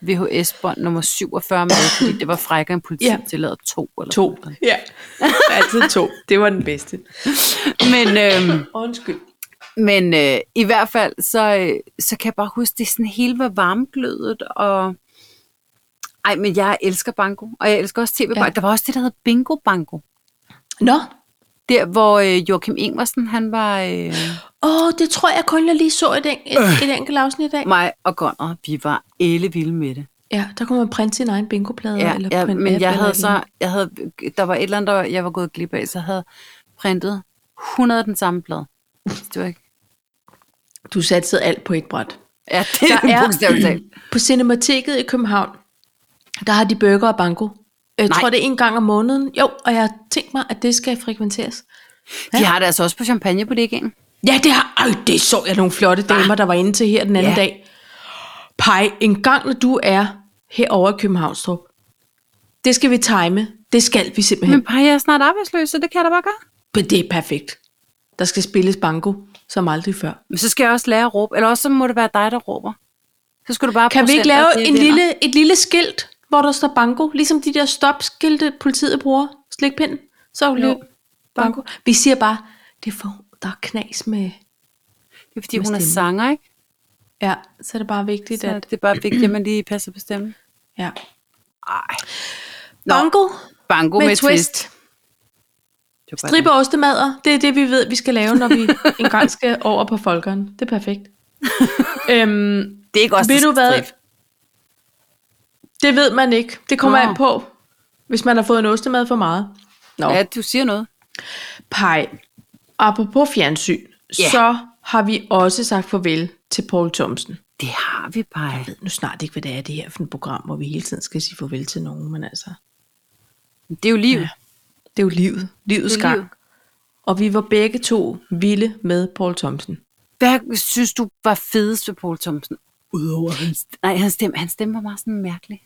B: VHS-bånd nummer 47 med, fordi det var frækker end politi, ja.
A: Ja.
B: det lavede to eller
A: To.
B: sådan noget.
A: Ja, altid to. Det var den bedste.
B: Men, øh,
A: Undskyld.
B: men øh, i hvert fald, så, øh, så kan jeg bare huske, det sådan hele var varmglødet, og ej, men jeg elsker banko, og jeg elsker også tv banko. Ja.
A: Ja.
B: Der var også det, der hed bingo banko.
A: Nå,
B: Der, hvor øh, Joachim Ingvarsen, han var øh,
A: åh, det tror jeg kun, jeg lige så et, en, et, et enkelt afsnit i dag.
B: mig og Gunnar, vi var alle vilde med det.
A: Ja, der kunne man printe sin egen bingoplade.
B: Ja,
A: eller
B: ja
A: på en
B: men
A: app
B: jeg
A: eller
B: havde
A: et
B: så, jeg havde, der var et eller andet, der var- jeg var gået glip af, så jeg havde printet 100 af den samme plade. Det var ikke...
A: lignende. Du satte alt på et bræt.
B: Ja, det
A: Der
B: er
A: er-
B: bogstaveligt talt.
A: På Cinemateket i København, der har de burger og banko. Jeg
B: Nej.
A: tror, det er en gang om måneden. Jo, og jeg har tænkt mig, at det skal frekventeres.
B: De har det altså også på champagne på det igen.
A: Ja, det har øj, det så jeg nogle flotte damer, der var inde til her den anden
B: Ja.
A: ja. dag. Pej, en gang når du er herovre i Københavnstrup, det skal vi time. Det skal vi simpelthen.
B: Men bare jeg er snart arbejdsløs, så det kan jeg da bare gøre.
A: Men det er perfekt. Der skal spilles banko som aldrig før.
B: Men så skal jeg også lære at råbe, eller også så må det være dig, der råber. Så skal du bare
A: Kan vi ikke
B: procenter,
A: lave
B: det
A: en
B: vinder.
A: lille, et lille skilt, hvor der står banko? Ligesom de der stopskilte, politiet bruger. Slikpinden. Så løb banko. Vi siger bare, det er for, der er knas med...
B: Det er fordi, hun er
A: stemme?
B: sanger, ikke?
A: Ja, så er det bare vigtigt,
B: Så
A: at...
B: det er bare vigtigt, at man lige passer på stemmen.
A: Ja.
B: Ej. Nå.
A: Banko
B: Banko
A: med, twist. twist.
B: Det var bare
A: Stribe og ostemadder, det er det, vi ved, vi skal lave, når vi engang skal over på folkeren. Det er perfekt. øhm,
B: det. Det er ikke også
A: ved du hvad? Det ved man ikke. Det kommer
B: Nå.
A: an på, hvis man har fået en ostemad for meget. Nå,
B: Ja,
A: At...
B: du siger noget.
A: pej. Apropos fjernsyn,
B: Ja.
A: yeah. så har vi også sagt farvel til Paul Thomsen.
B: Det har vi bare.
A: Jeg ved nu snart ikke, hvad det er, det her for et program, hvor vi hele tiden skal sige farvel til nogen, men altså,
B: Det er jo liv. Ja.
A: det er jo livet. Livets
B: Det er
A: gang.
B: livet.
A: Og vi var begge to vilde med Paul Thomsen.
B: Hvad synes du var fedest ved Paul Thomsen?
A: Udover hans
B: Nej, hans stemme, hans stemme var meget sådan mærkelig.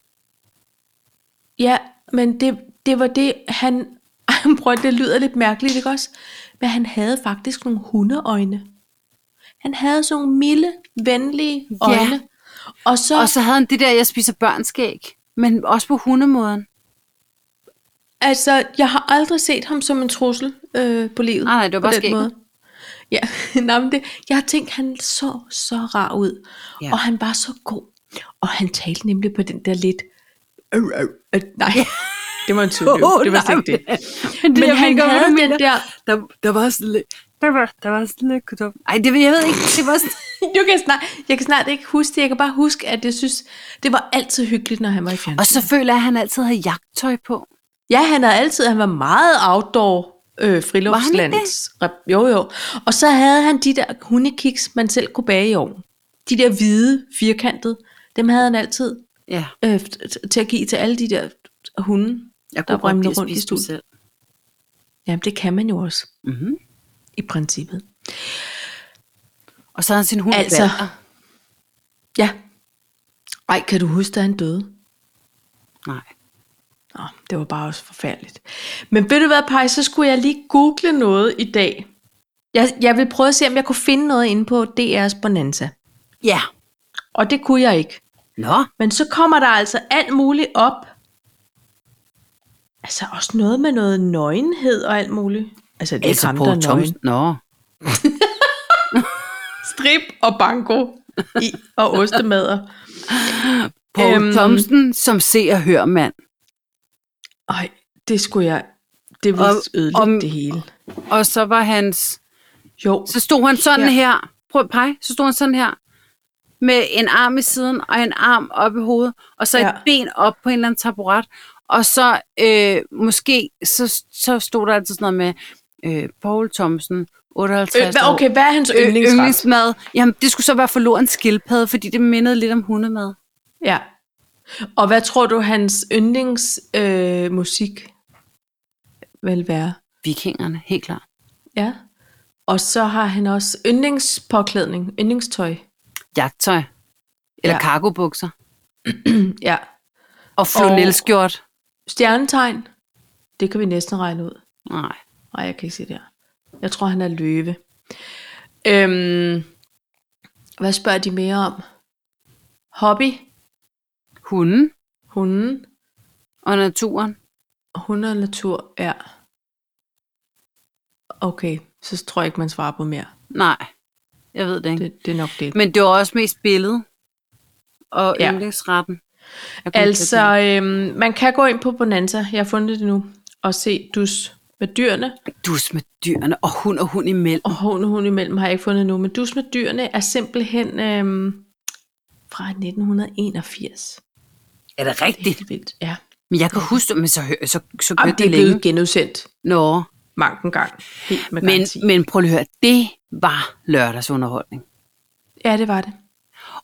A: Ja, men det, det var det, han... Ej, Prøv, at- det lyder lidt mærkeligt, ikke også? Men han havde faktisk nogle hundeøjne. Han havde sådan nogle milde, venlige
B: Ja.
A: øjne. Og så...
B: Og så havde han det der, jeg spiser børnskæg. Men også på hundemåden.
A: Altså, jeg har aldrig set ham som en trussel øh, på livet.
B: Nej, nej, det var
A: på
B: bare
A: den
B: skægget.
A: Ja, nej, men det, jeg har tænkt, han så så rar ud.
B: Ja.
A: Ja. Og han var så god. Og han talte nemlig på den der lidt... Øh, øh, øh, nej, det var en tulløv.
B: Åh,
A: det var
B: nej,
A: slet ikke det.
B: men-
A: Men
B: jeg
A: han
B: mener, hvad du
A: havde
B: mener.
A: den der...
B: Der, der var sådan lidt... Der var, der var sådan lidt kudum. Ej, det, ved- jeg ved ikke. Det var sådan...
A: Du kan snart, jeg kan snart ikke huske det. Jeg kan bare huske, at jeg synes, det var altid hyggeligt, når han var i
B: Og
A: fjernsynet.
B: så føler jeg, at han altid havde jagttøj på.
A: Ja, han havde altid, han var meget outdoor øh,
B: Var han ikke
A: friluftslands. rep- Jo, jo. Og så havde han de der hundekiks, man selv kunne bage i ovnen. De der hvide, firkantede, dem havde han altid
B: Ja.
A: øh, t- t- til at give til alle de der hunde,
B: Jeg
A: der
B: kunne godt
A: rømte
B: lide at
A: rundt i
B: spise dem
A: studiet.
B: selv.
A: Jamen, det kan man jo også,
B: Mm-hmm.
A: i princippet.
B: Og så havde han sin hund
A: Altså.
B: Balder.
A: Ja. Ej, kan du huske, da han døde?
B: Nej.
A: Nå, det var bare også forfærdeligt. Men ved du hvad, Paj, så skulle jeg lige google noget i dag. Jeg, jeg vil prøve at se, om jeg kunne finde noget inde på DR's Bonanza.
B: Ja.
A: Og det kunne jeg ikke.
B: Nå.
A: Men så kommer der altså alt muligt op. Altså også noget med noget nøgenhed og alt muligt. Altså det er ikke
B: Altså
A: ham, der
B: Paul
A: er nøgen.
B: Thomsen. Nå.
A: Strip og banko i, og ostemader.
B: Paul øhm,
A: Øhm.
B: Thomsen, som ser og hører mand.
A: Ej, det skulle jeg... Det ville
B: Og-
A: ødelægge
B: om-
A: det hele.
B: Og så var hans...
A: Jo,
B: Så stod han sådan ja.
A: Ja.
B: her. Prøv at pege. Så stod han sådan her. Med en arm i siden, og en arm op i hovedet, og så ja. et
A: Ja.
B: ben op på en eller anden taburet. Og så øh, måske, så, så stod der altid sådan noget med øh, Paul Thomsen, 58
A: øh, hvad-
B: år.
A: okay, hvad er hans
B: Øh,
A: yndlingsret?
B: yndlingsmad. Jamen, det skulle så være forloren skildpadde, fordi det mindede lidt om hundemad.
A: Ja. Og hvad tror du, hans yndlingsmusik øh, musik vil være?
B: Vikingerne, helt klart.
A: Ja. Og så har han også yndlingspåklædning, yndlingstøj.
B: Jagttøj. Eller ja.
A: Ja.
B: cargobukser.
A: Ja.
B: Og flanelskjort.
A: Stjernetegn, det kan vi næsten regne ud.
B: Nej.
A: Nej, jeg kan ikke se det her. Jeg tror, han er løve. Øhm, hvad spørger de mere om? Hobby,
B: Hunden
A: hunden,
B: og naturen.
A: hunde og natur, ja. Okay, så tror jeg ikke, man svarer på mere.
B: Nej, jeg ved det ikke.
A: Det, det er nok det.
B: Men det var også mest billedet og
A: Ja.
B: ja. yndlingsretten. Jeg kom til at
A: Altså, øhm, man kan gå ind på Bonanza, jeg har fundet det nu, og se dus med dyrene.
B: tænke, dus med dyrene og hund og hund imellem.
A: Og hun og hun imellem har jeg ikke fundet nu, men dus med dyrene er simpelthen øhm, fra 1981.
B: Er det rigtigt?
A: Helt vildt, ja.
B: Men jeg kan huske, men så, hø- så, så
A: Jamen,
B: kørte
A: det er
B: det længe.
A: blevet genudsendt
B: Nå,
A: mange gang. Helt med
B: men,
A: garanti.
B: men prøv lige at høre, det var lørdagsunderholdning.
A: Ja, det var det.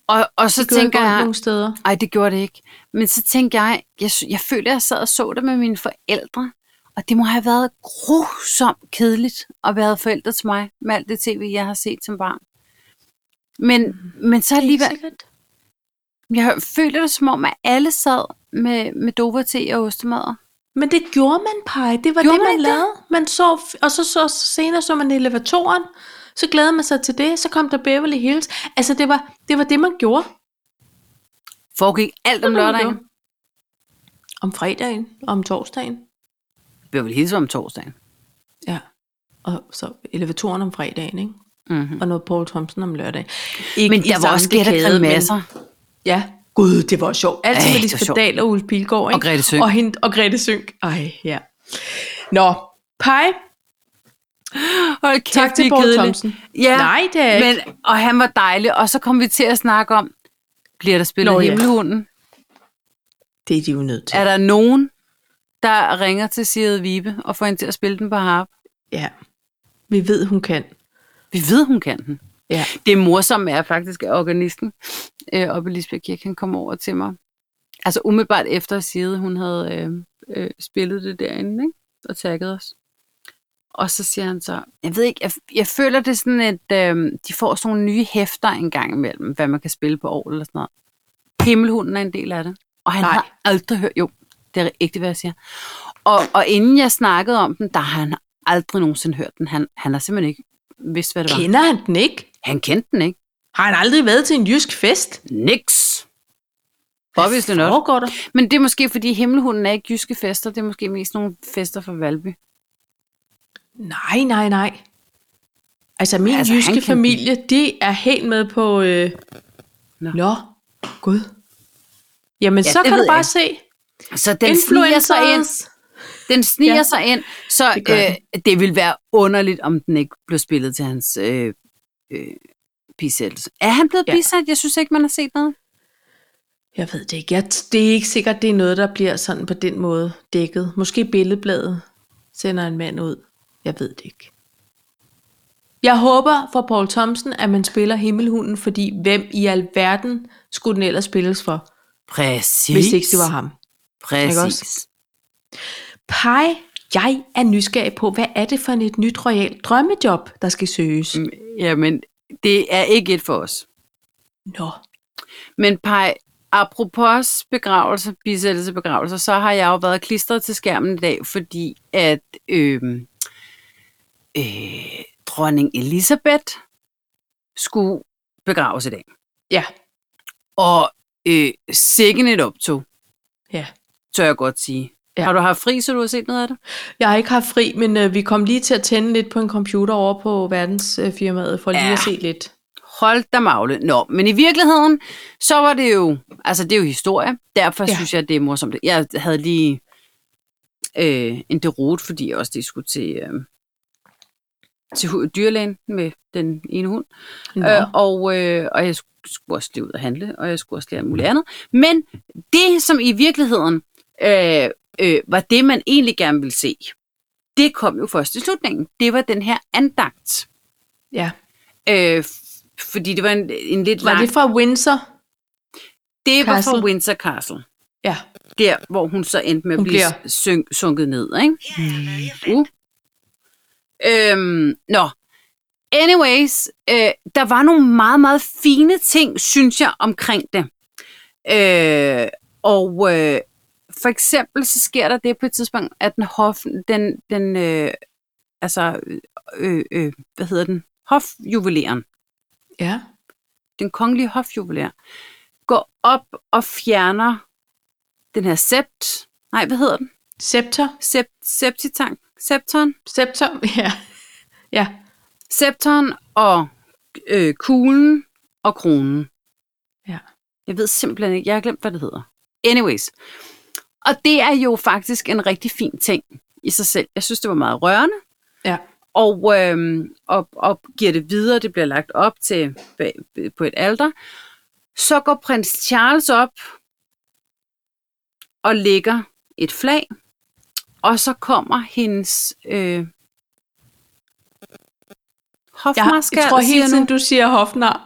B: Og, og så
A: Det tænker
B: tænker
A: jeg...
B: jeg,
A: nogle steder.
B: nej, det gjorde det ikke. Men så tænker jeg, jeg, sy- jeg følte, at jeg sad og så det med mine forældre, og det må have været grusomt kedeligt at være forældre til mig med alt det tv, jeg har set som barn. Men,
A: Mm.
B: men så alligevel,
A: Sikkert.
B: Jeg føler det som om, at alle sad med, med Dover te og ostemadder.
A: Men det gjorde man, Paj. Det var
B: Gjorde
A: det, man,
B: man det?
A: lavede. Man så, og så, så senere så man elevatoren. Så glædede man sig til det. Så kom der Beverly Hills. Altså, det var det, var det man gjorde.
B: Foregik alt om
A: Det var det, man
B: lørdagen.
A: gjorde. Om fredagen og om torsdagen.
B: Beverly Hills var om torsdagen.
A: Ja. Og så elevatoren om fredagen, ikke?
B: Mm-hmm.
A: Og noget Paul Thompson om lørdagen. Ikke
B: Men
A: i
B: der var
A: samme
B: også gæt og
A: dekade,
B: grimasser.
A: men- Ja. Gud, det var sjovt. Alt
B: Ej,
A: med
B: det var
A: Lisbeth
B: sjovt.
A: Dahl og Ulf Pilgaard, ikke?
B: Og Grete Søg.
A: Og, hende, og Grete Sønk. Ej, ja. Nå, Pej,
B: Hold kæft,
A: tak til
B: vi er
A: Paul
B: kedelige.
A: Thomsen.
B: Ja,
A: Nej, det er ikke.
B: men, og han var dejlig. Og så kom vi til at snakke om, bliver der spillet
A: Nå,
B: Nå,
A: ja.
B: himmelhunden?
A: Det er de jo nødt til.
B: Er der nogen, der ringer til Sigrid Vibe og får hende til at spille den på harp?
A: Ja. Vi ved, hun kan.
B: Vi ved, hun kan den.
A: Ja.
B: Det morsomme er faktisk, at organisten øh, oppe i Lisbjerg Kirke, han kom over til mig. Altså umiddelbart efter at sige, hun havde øh, øh, spillet det derinde, ikke? og tagget os. Og så siger han så, jeg ved ikke, jeg, jeg føler det er sådan, at øh, de får sådan nogle nye hæfter en gang imellem, hvad man kan spille på år eller sådan noget. Himmelhunden er en del af det. Og han
A: Nej.
B: Nej. har aldrig hørt, jo, det er ægte, hvad jeg siger. Og, og inden jeg snakkede om den, der har han aldrig nogensinde hørt den. Han, han har simpelthen ikke vidst, hvad det var.
A: Kender han den ikke?
B: Han kendte den ikke.
A: Har han aldrig været til en jysk fest?
B: Niks. Obviously not.
A: Foregår der?
B: Men det er måske, fordi himmelhunden er ikke jyske fester. Det er måske mest nogle fester fra Valby.
A: Nej, nej, nej. Altså, min altså,
B: Altså, han
A: jyske
B: kan
A: familie, de er helt med på... Øh... Nå.
B: Nå.
A: Nå, gud. Jamen,
B: Ja,
A: så
B: det
A: kan du
B: ved
A: bare
B: jeg.
A: se.
B: Så den sniger sig ind.
A: Influencers.
B: Den sniger
A: Ja.
B: ja. sig ind. Så
A: Det
B: det,
A: gør
B: øh, det ville være underligt, om den ikke blev spillet til hans øh, øh, bisættelse. Er han blevet
A: Ja.
B: ja. bisat? Jeg synes ikke, man har set noget.
A: Jeg ved det ikke. Jeg, det er ikke sikkert, det er noget, der bliver sådan på den måde dækket. Måske billedbladet sender en mand ud. Jeg ved det ikke. Jeg håber for Paul Thomsen, at man spiller Himmelhunden, fordi hvem i alverden skulle den ellers spilles for,
B: Præcis.
A: hvis ikke det var ham? Ikke også?
B: Præcis.
A: Pej, jeg er nysgerrig på, hvad er det for et nyt royalt drømmejob, der skal søges? Mm.
B: Jamen, det er ikke et for os.
A: Nå,
B: Men Pej, apropos begravelse, bisættelse, begravelser, så har jeg jo været klistret til skærmen i dag, fordi at øh, øh, dronning Elisabeth skulle begraves i dag.
A: ja,
B: Og øh, sikken et optog,
A: ja.
B: tør jeg godt sige.
A: Ja.
B: Ja. Har du haft fri, så du har set noget af det?
A: Jeg har ikke haft fri, men øh, vi kom lige til at tænde lidt på en computer over på verdensfirmaet, for lige ja.
B: Ja.
A: at se lidt.
B: Hold da magle. Nå, men i virkeligheden, så var det jo, altså det er jo historie, derfor
A: Ja.
B: ja. synes jeg, det er morsomt. Jeg havde lige øh, en derot, fordi jeg også lige skulle til, øh, til hu- dyrlægen med den ene hund,
A: Nå.
B: øh, og, øh, og jeg sk- skulle også lige ud og handle, og jeg skulle også lige alt muligt andet. Men det, som i virkeligheden øh, øh, var det, man egentlig gerne ville se, det kom jo først i slutningen. Det var den her andagt.
A: ja.
B: Øh, f- fordi det var en, en lidt
A: Var
B: lang...
A: det fra Windsor?
B: det var
A: Castle?
B: fra Windsor Castle.
A: Ja.
B: Der, hvor hun så endte med at
A: Hun
B: hun blive
A: bliver- Mm.
B: bliver... syn- sunket ned, ikke? Ja, uh. øhm, Nå. Anyways, øh, der var nogle meget, meget fine ting, synes jeg, omkring det. Øh, og, øh, for eksempel så sker der det på et tidspunkt, at den hof, den, den øh, altså, øh, øh, hvad hedder den? Hofjuveleren,
A: Ja.
B: den kongelige hofjuveler, går op og fjerner den her sept, nej, hvad hedder den?
A: Scepter.
B: Sept, septitang, septon,
A: Scepter. Ja. Ja.
B: septon og øh, kuglen og kronen.
A: Ja.
B: Jeg ved simpelthen ikke, jeg har glemt, hvad det hedder. Anyways. Og det er jo faktisk en rigtig fin ting i sig selv. Jeg synes, det var meget rørende,
A: Ja.
B: og, øhm, og, og giver det videre. Det bliver lagt op til på et alter. Så går prins Charles op og lægger et flag, og så kommer hendes øh,
A: Jeg,
B: hofmarskal.
A: jeg tror hele
B: siger
A: tiden,
B: nu,
A: du siger hofnar.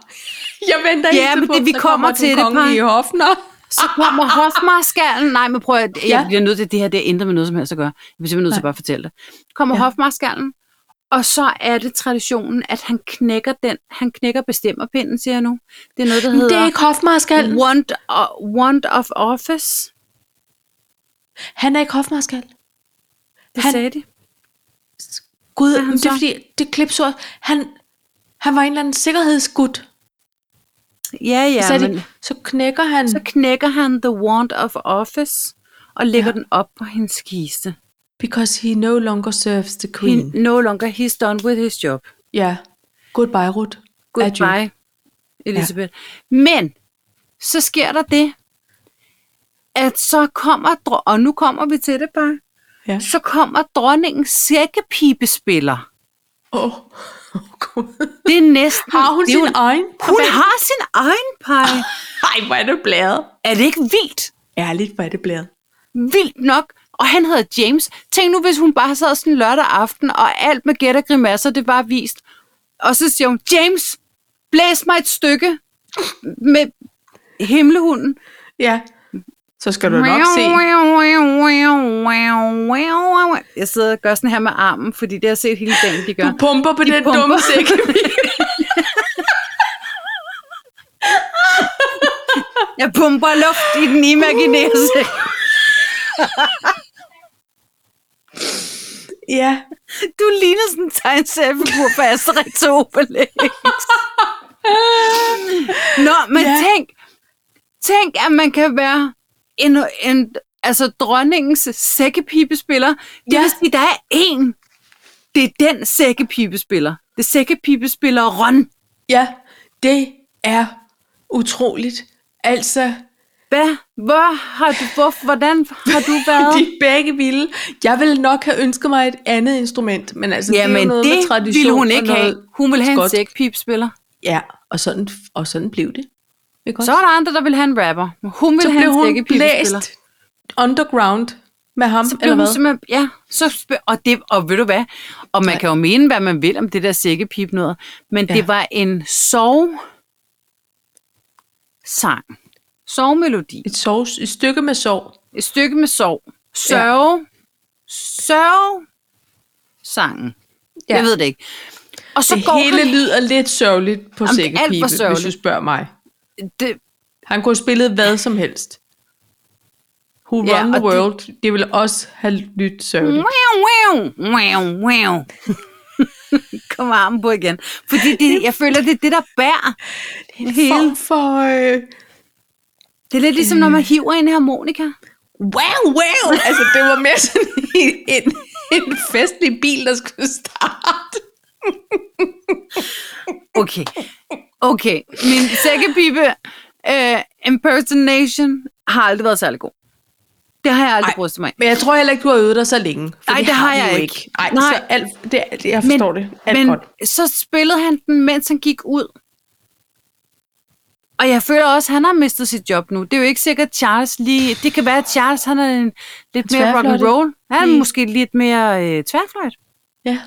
A: Jeg venter
B: Ja,
A: hele tiden
B: men
A: på,
B: det-
A: om
B: vi
A: der
B: kommer til
A: den
B: det,
A: kongelige hofnar.
B: Så kommer hofmarskallen. Nej, men prøv at, jeg
A: Ja.
B: bliver nødt til, det her det er intet med noget som helst at gøre. Jeg bliver simpelthen nødt til
A: Nej.
B: bare at fortælle det. Kommer
A: Ja.
B: ja. hofmarskallen, og så er det traditionen, at han knækker den. Han knækker bestemmerpinden, siger jeg nu. Det er noget, der
A: Men det
B: hedder
A: er ikke hofmarskal.
B: want, o- want of office.
A: Han er ikke hofmarskal.
B: Det
A: Han-
B: han, sagde de.
A: Gud,
B: er han
A: men det er
B: så?
A: fordi, det klipsord, han, han var en eller anden sikkerhedsgud.
B: Ja,
A: Ja,
B: ja,
A: så,
B: men
A: de, så knækker han.
B: så
A: Så,
B: knækker han the want of office og lægger
A: Ja.
B: ja. den op på hendes kiste.
A: because he no longer serves the queen.
B: He, no longer he's done with his job.
A: Ja. Goodbye, Ruth. Adieu.
B: Goodbye, Elisabeth. Ja. Men så sker der det, at så kommer, dro- og nu kommer vi til det bare,
A: Ja.
B: så kommer dronningens sækkepibespiller.
A: Åh, oh, Gud.
B: Det er næsten...
A: Har hun
B: det er
A: sin
B: jo-
A: egen?
B: Hun har sin egen pege.
A: Ej, hvor er det blæret.
B: Er det ikke vildt?
A: Ærligt, hvor er det blæret.
B: Vildt nok. Og han hedder James. Tænk nu, hvis hun bare sad sådan lørdag aften, og alt med gæt og grimasser, det var vist. Og så siger hun, James, blæs mig et stykke med himlehunden.
A: Ja. Så skal du nok se.
B: Jeg sidder og gør sådan her med armen, fordi det har jeg set hele dagen, de gør.
A: Du pumper på de den
B: pumper.
A: dumme sæk.
B: Jeg pumper luft i den imaginære
A: Uh.
B: sæk.
A: ja.
B: Du ligner sådan en tegneseriefigur på Asterix og Obelix. Nå, men
A: Ja.
B: ja. tænk, tænk, at man kan være en, en altså dronningens sækkepibespiller. Det
A: Ja.
B: ja. vil sige, der er en. Det er den sækkepibespiller. Det er sækkepibespiller Ron.
A: Ja, det er utroligt. Altså,
B: Hvad? Hvor har du, hvor, hvordan har du været?
A: de er begge vilde. Jeg ville nok have ønsket mig et andet instrument, men altså, det er jo
B: Jamen,
A: noget med
B: det, det
A: tradition
B: ville hun
A: og
B: ikke
A: noget
B: have. Hun ville have en
A: skot.
B: sækpibespiller.
A: Ja, og sådan, og sådan blev det. Ikke også?
B: Så var der andre, der ville have en rapper. Men Hun ville
A: så
B: have
A: blev
B: en
A: hun
B: sækpibespiller.
A: blæst underground med ham,
B: så blev
A: eller
B: hun
A: hvad?
B: simpelthen, ja, så, sp- og, det, og ved du hvad, og man
A: Nej.
B: kan jo mene, hvad man vil om det der sækkepip noget, men
A: Ja.
B: ja. det var en sov sang, sovmelodi,
A: Et, sovs, et stykke med sov.
B: et stykke med sov, sørge, ja. sørge sangen,
A: Ja.
B: ja. jeg ved det ikke. Og så
A: Så det
B: går
A: hele
B: han,
A: han... lyder lidt sørgeligt på
B: Jamen, det er alt for
A: sækkepipe, hvis
B: sørgeligt.
A: du spørger mig.
B: det,
A: Han kunne have spillet hvad som helst. Who
B: Ja,
A: ja, Run the
B: og det-
A: World, det... det ville også have lyttet sørgeligt.
B: Wow, wow, wow, wow. Kommer armen på igen. Fordi det, jeg føler, det er det, der bærer.
A: Form
B: Hele.
A: for... Øh...
B: Det er lidt ligesom, når man hiver en harmonika.
A: Wow, wow! Altså, det var mere sådan en, en, en festlig bil, der skulle starte.
B: Okay. Okay. Min sækkepipe uh, impersonation har aldrig været særlig god. Det har jeg aldrig
A: Ej,
B: brustet mig af.
A: Men jeg tror heller ikke, du har øvet dig så længe. for
B: Nej, det har
A: vi
B: jeg
A: jo
B: ikke.
A: Nej,
B: Nej.
A: så alt, det, det, jeg forstår men, det. Alt men,
B: men
A: godt.
B: så spillede han den, mens han gik ud. Og jeg føler også, at han har mistet sit job nu. Det er jo ikke sikkert, at Charles lige... Det kan være, at Charles han er en, lidt mere rock and
A: Tværfløjte.
B: roll. Han er
A: Lige.
B: måske lidt mere øh, tværfløjt.
A: Ja.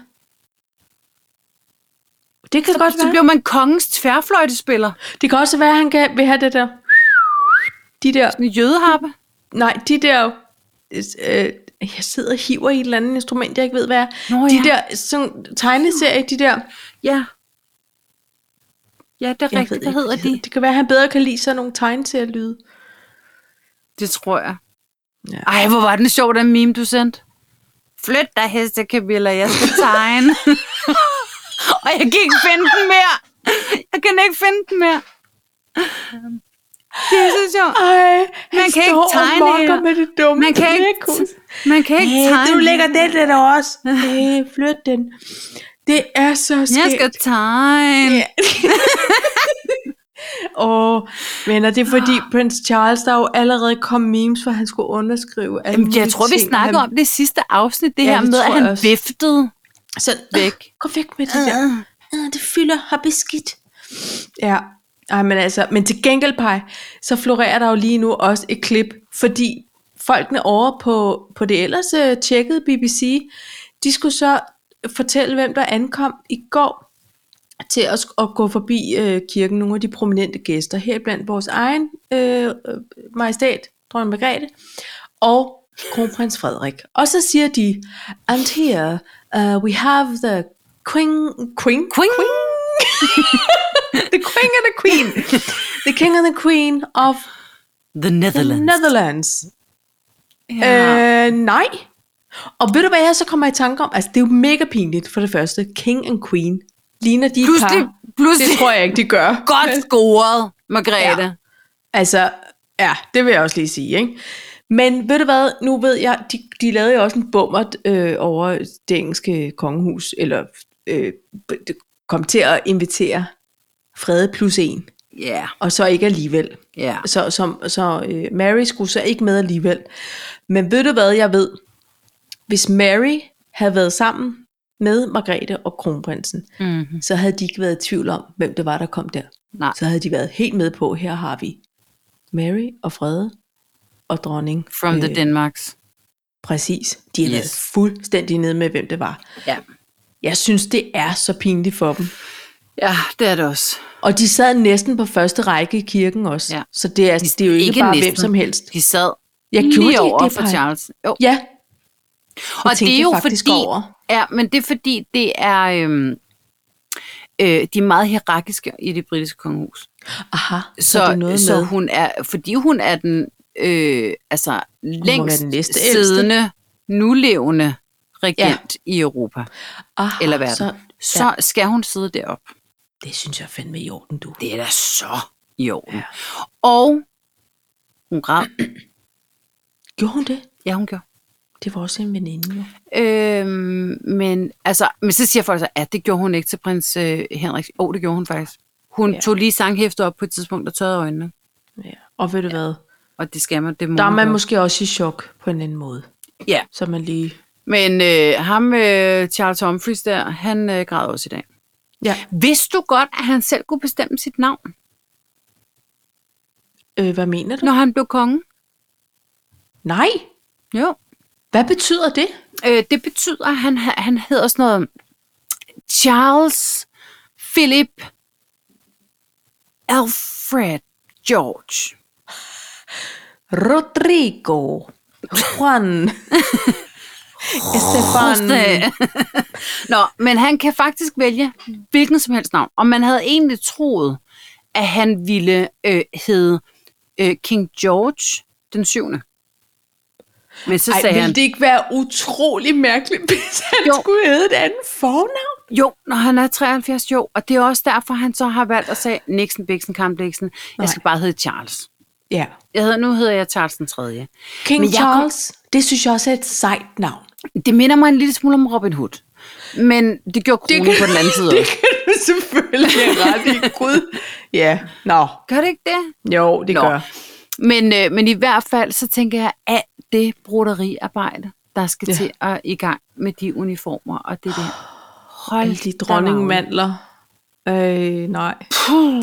A: Det kan så, godt
B: Så
A: være.
B: blev man kongens tværfløjtespiller.
A: Det kan også være, at han kan, vil have det der... De der...
B: En jødeharpe.
A: Nej, de der... Øh, jeg sidder og hiver i et eller andet instrument, jeg ikke ved, hvad er.
B: Nå,
A: de
B: ja.
A: der sådan, tegneserie, de der...
B: Ja. Ja, det er
A: Jeg
B: rigtigt.
A: ved
B: Hvad
A: ikke,
B: hedder de?
A: Det kan være, at han bedre kan lide sådan nogle tegneserielyde.
B: Det tror jeg.
A: Ja.
B: Ej, hvor var den sjov, den meme, du sendte. Flyt dig, heste Camilla, jeg skal tegne. og jeg kan ikke finde den mere. Jeg kan ikke finde den mere. Det er så sjovt.
A: Ej, han
B: Man kan ikke
A: står og
B: tegne
A: mokker
B: her.
A: med det dumme
B: Man kan ikke,
A: knækkus.
B: man kan ikke tegne.
A: den der der også. Øh, flyt den. Det er så skægt.
B: Jeg skal tegne.
A: Ja. Åh, men er det fordi
B: Ah.
A: prins Charles, der jo allerede kom memes, for han skulle underskrive alle
B: Jamen, jeg
A: mulige
B: tror, vi
A: ting, og
B: snakkede
A: han-
B: om det i sidste afsnit, det
A: Ja,
B: her
A: det
B: med,
A: tror
B: at
A: jeg
B: han
A: også.
B: viftede
A: Så væk.
B: væk. Ah,
A: Gå Ah, væk med det der. Øh, det fylder har beskidt. Ja, Ej, men altså, men til gengæld, Paj, så florerer der jo lige nu også et klip, fordi folkene over på, på det ellers øh, tjekkede BBC, de skulle så fortælle, hvem der ankom i går til at, sk- at gå forbi øh, kirken, nogle af de prominente gæster, heriblandt vores egen øh, øh, majestæt, dronning Margrethe, og kronprins Frederik. Og så siger de, and here uh, we have the queen, queen,
B: Queen.
A: the king and the queen. the king and the queen of
B: The
A: the
B: Netherlands.
A: Netherlands.
B: Ja.
A: Øh, nej. Og ved du hvad jeg så kommer i tanke om? Altså det er jo mega pinligt for det første. King and queen. Ligner de et
B: Pludselig,
A: par? Det
B: pludselig
A: tror jeg ikke, de gør.
B: godt
A: Men-
B: scoret, Margrethe. Ja.
A: Altså, ja, det vil jeg også lige sige, ikke? Men ved du hvad, nu ved jeg, de, de lavede jo også en bummert øh, over det engelske kongehus, eller øh, b- det kom til at invitere Frede plus en,
B: Ja.
A: og så ikke alligevel.
B: Ja.
A: Så, som, så øh, Mary skulle så ikke med alligevel. Men ved du hvad, jeg ved? Hvis Mary havde været sammen med Margrethe og kronprinsen,
B: Mhm.
A: så havde de ikke været i tvivl om, hvem det var, der kom der.
B: Nej.
A: Så havde de været helt med på, her har vi Mary og Frede og dronning. Øh,
B: From the Denmarks.
A: Præcis. De har yes. været
B: Yes.
A: fuldstændig nede med, hvem det var.
B: Ja.
A: Jeg synes, det er så pinligt for dem.
B: Ja, det er det også.
A: Og de sad næsten på første række i kirken også.
B: Ja.
A: Ja. Så det er, det er jo ikke, ikke bare næsten. hvem som helst.
B: De sad
A: Jeg
B: lige
A: gjorde de ikke
B: over
A: det,
B: for
A: Paj?
B: Charles. Jo.
A: Ja,
B: Og
A: tænkte
B: det er jo
A: faktisk
B: fordi,
A: over.
B: Ja, men det er fordi, det er... Øhm, øh, de er meget hierarkiske i det britiske kongehus.
A: aha. Så,
B: Så,
A: så det er noget
B: så
A: med.
B: hun er, fordi hun er den øh, altså, længst
A: den næste
B: siddende, nulevende regent ja. i Europa
A: aha,
B: eller verden,
A: Ah, Så,
B: så, så ja. skal hun sidde derop.
A: det synes jeg fandme i orden, du.
B: Det er da så i orden. Ja. Og hun græd.
A: Gjorde hun det?
B: Ja, hun gjorde.
A: Det var også en veninde, jo.
B: Øhm, men, altså, men så siger folk så, at det gjorde hun ikke til prins øh, Henrik. Åh, oh, det gjorde hun faktisk. Hun ja.
A: Ja.
B: tog lige sanghæftet op på et tidspunkt og tørrede øjnene.
A: Ja. Og ved du ja. hvad?
B: Og det skal man, det må
A: Der er
B: hun
A: man
B: godt.
A: måske også i chok på en anden måde.
B: Ja,
A: Så man lige...
B: men øh, ham, øh, Charles Humphries der, han øh, græd også i dag.
A: Ja.
B: Vidste du godt, at han selv kunne bestemme sit navn,
A: Øh, hvad mener du?
B: når han blev konge?
A: Nej.
B: Jo.
A: Hvad betyder det?
B: Øh, det betyder, at han, han hedder sådan noget Charles Philip Alfred George.
A: Rodrigo. Juan. Estefan.
B: Sådan. Nå, men han kan faktisk vælge hvilken som helst navn. Og man havde egentlig troet, at han ville øh, hedde øh, King George den syvende. Men så
A: Ej,
B: sagde han,
A: ville det ikke være utrolig mærkeligt, hvis han
B: Jo.
A: jo. skulle hedde et andet fornavn?
B: Jo, når han er 73, jo. Og det er også derfor, han så har valgt at sige, Nixon, Bixen, Kampbliksen, jeg skal bare hedde Charles.
A: Ja.
B: Jeg hedder, nu hedder jeg Charles den 3.
A: King
B: Men jeg kom-
A: Charles, kom... det synes jeg også er et sejt navn.
B: Det minder mig en lille smule om Robin Hood. Men det gjorde kronen det kan... på den anden side
A: det
B: også.
A: kan du selvfølgelig have ret i. Gud. Ja, nå.
B: Gør det ikke det?
A: Jo, det
B: Nå.
A: nå. gør.
B: Men, øh, men i hvert fald, så tænker jeg, at det broderiarbejde, der skal ja.
A: Ja.
B: til at i gang med de uniformer og det der.
A: Alle
B: Hold
A: de
B: da magle.
A: dronningmandler. Øh, nej.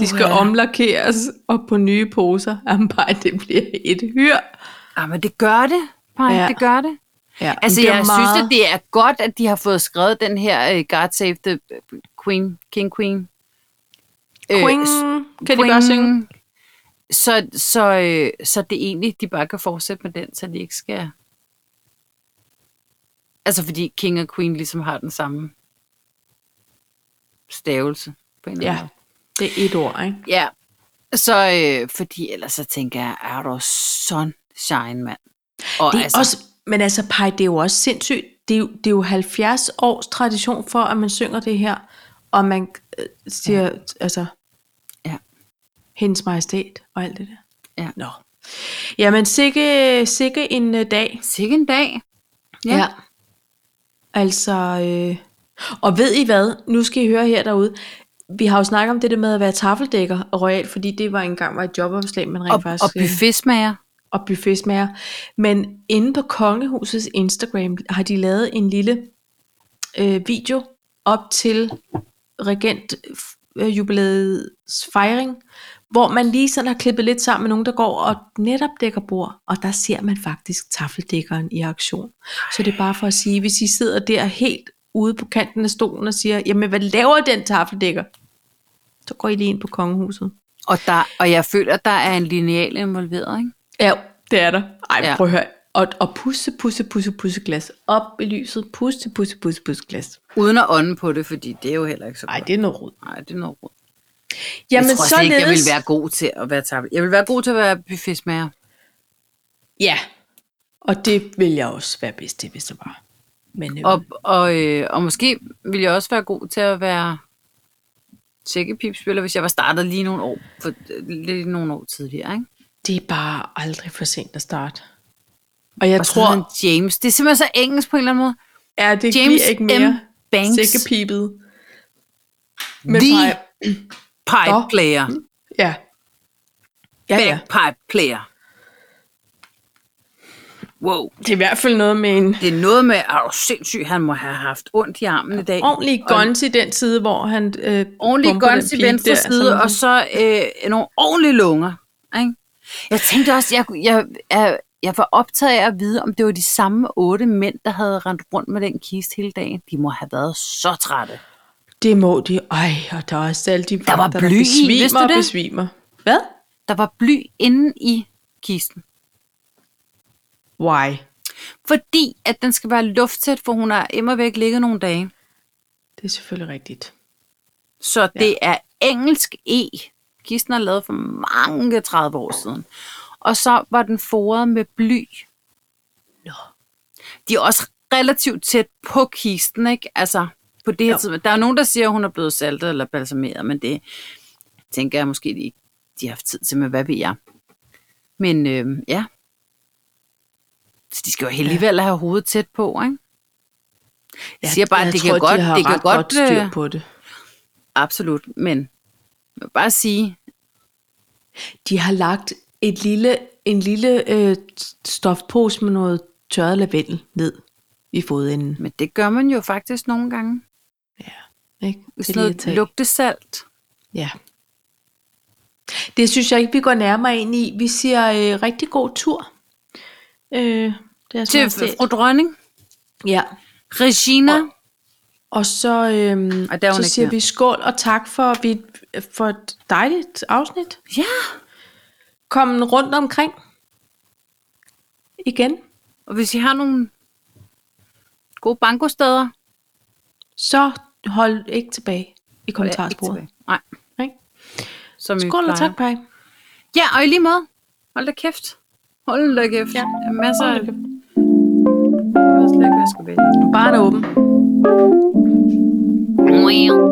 A: De skal omlakeres og på nye poser. Jamen bare, det bliver et hyr.
B: Ah, men det gør det, Paj, ja.
A: Ja.
B: det gør det.
A: Ja,
B: Altså, jeg meget... synes, at det er godt, at de har fået skrevet den her uh, God Save the Queen, King Queen. Øh,
A: Queen,
B: s-
A: kan de
B: Queen.
A: bare synge?
B: Så, så, øh, så det er egentlig, de bare kan fortsætte med den, så de ikke skal... Altså, fordi King og Queen ligesom har den samme stavelse. På en eller anden
A: Ja,
B: måde.
A: det er et ord, ikke?
B: Ja. Så, øh, fordi ellers så tænker jeg, er du sådan shine, mand. Og
A: Det er altså. også, men altså, Paj, det er jo også sindssygt. Det er, jo, det er jo 70 års tradition for, at man synger det her, og man øh, siger, ja. altså,
B: Ja.
A: hendes majestæt og alt det der.
B: Ja.
A: Nå. Jamen, sikke, sikke en øh, dag.
B: Sikke en dag. Ja. ja.
A: Altså, øh, og ved I hvad? Nu skal I høre her derude. Vi har jo snakket om det der med at være tafeldækker og royal, fordi det var engang var et jobopslag, man rent
B: Og,
A: faktisk...
B: og
A: øh,
B: buffetsmager.
A: og buffetsmager. Men inde på Kongehusets Instagram har de lavet en lille øh, video op til regentjubilæets fejring, hvor man lige sådan har klippet lidt sammen med nogen, der går og netop dækker bord, og der ser man faktisk tafeldækkeren i aktion. Så det er bare for at sige, hvis I sidder der helt ude på kanten af stolen og siger, jamen hvad laver den tafeldækker? Så går I lige ind på kongehuset.
B: Og, der, og jeg føler, der er en lineal involveret, ikke?
A: Ja, det er der. Ej,
B: Ja.
A: ja. prøv at høre. Og, og pusse, pusse, pusse, pusse glas. Op i lyset. Pusse, pusse, pusse, pusse glas.
B: Uden at ånde på det, fordi det er jo heller ikke så
A: Nej,
B: godt.
A: det er noget rod.
B: Nej, det er noget råd.
A: Jamen,
B: jeg tror slet ikke, jeg
A: således-
B: ville være god til at være tablet. Jeg ville være god til at være buffetsmager.
A: Ja. Og det vil jeg også være bedst til, hvis det var. Men øh,
B: Og, og, øh, og måske ville jeg også være god til at være sækkepipspiller, hvis jeg var startet lige nogle år, for, lige nogle år tidligere. Ikke?
A: det er bare aldrig for sent at starte. Og jeg
B: Og
A: og
B: tror, sådan
A: tror,
B: en James. Det er simpelthen så engelsk på en eller anden måde.
A: er det
B: James
A: bliver ikke
B: M.
A: mere
B: Banks.
A: sikkepibet. Men
B: The-
A: bare,
B: Pipe
A: Nå.
B: player.
A: ja. Ja, ja.
B: Backpipe player. Wow.
A: Det er i hvert fald noget med en
B: Det er noget med, at oh, sindssygt, han må have haft ondt i armen i dag.
A: ordentlig guns i den side, hvor han øh,
B: ordentlig
A: pumper den
B: guns i
A: pige
B: venstre
A: der,
B: side,
A: sådan-
B: og så øh, nogle ordentlige lunger. Ikke? Jeg tænkte også, jeg, kunne- jeg, jeg, jeg var optaget af at vide, om det var de samme otte mænd, der havde rendt rundt med den kiste hele dagen. De må have været så trætte.
A: Det må de. Ej, og der er også alle de
B: var
A: vagter,
B: bly i, vidste
A: besvimer
B: du
A: og
B: det?
A: besvimer. Hvad?
B: Der var bly inde i kisten.
A: Why?
B: Fordi at den skal være lufttæt, for hun har immer væk ligget nogle dage.
A: Det er selvfølgelig rigtigt.
B: Så ja. det er engelsk E. Kisten er lavet for mange 30 år siden. Og så var den foret med bly.
A: Nå.
B: De er også relativt tæt på kisten, ikke? Altså, på det her
A: Jo.
B: tidspunkt. Der er nogen, der siger, at hun er blevet saltet eller balsameret, men det tænker jeg måske, de, ikke- de har haft tid til, men hvad ved jeg. Men øh, ja. Så de skal jo alligevel have hovedet tæt på, ikke? Jeg siger bare, at det kan
A: tror,
B: godt,
A: de har
B: det kan
A: ret godt,
B: godt, øh,
A: styr på det.
B: Absolut, men jeg vil bare sige,
A: De har lagt et lille, en lille øh, stofpose med noget tørret lavendel ned i fodenden.
B: men det gør man jo faktisk nogle gange.
A: Ikke?
B: Sådan noget lugtesalt.
A: Ja. Det synes jeg ikke, vi går nærmere ind i. Vi siger øh, rigtig god tur. Øh, deres
B: Til
A: majestæt.
B: fru dronning,
A: Ja.
B: Regina, og,
A: Og så, øhm,
B: Og der er hun
A: så
B: ikke
A: siger
B: mere.
A: vi skål og tak for, vi, for et dejligt afsnit.
B: ja,
A: Kom rundt omkring igen,
B: og hvis I har nogle gode bankosteder,
A: så hold ikke tilbage i
B: vær ikke
A: kommentarsporet.
B: tilbage. Nej,
A: ikke?
B: som I
A: Skål og
B: plejer.
A: tak, Paj.
B: Ja, og i lige måde. Hold da kæft. Hold da kæft. Ja. Masser af...
A: Hold da kæft.
B: Jeg ved slet ikke, hvad jeg skal vælge.
A: Bare er åben.
B: Wow.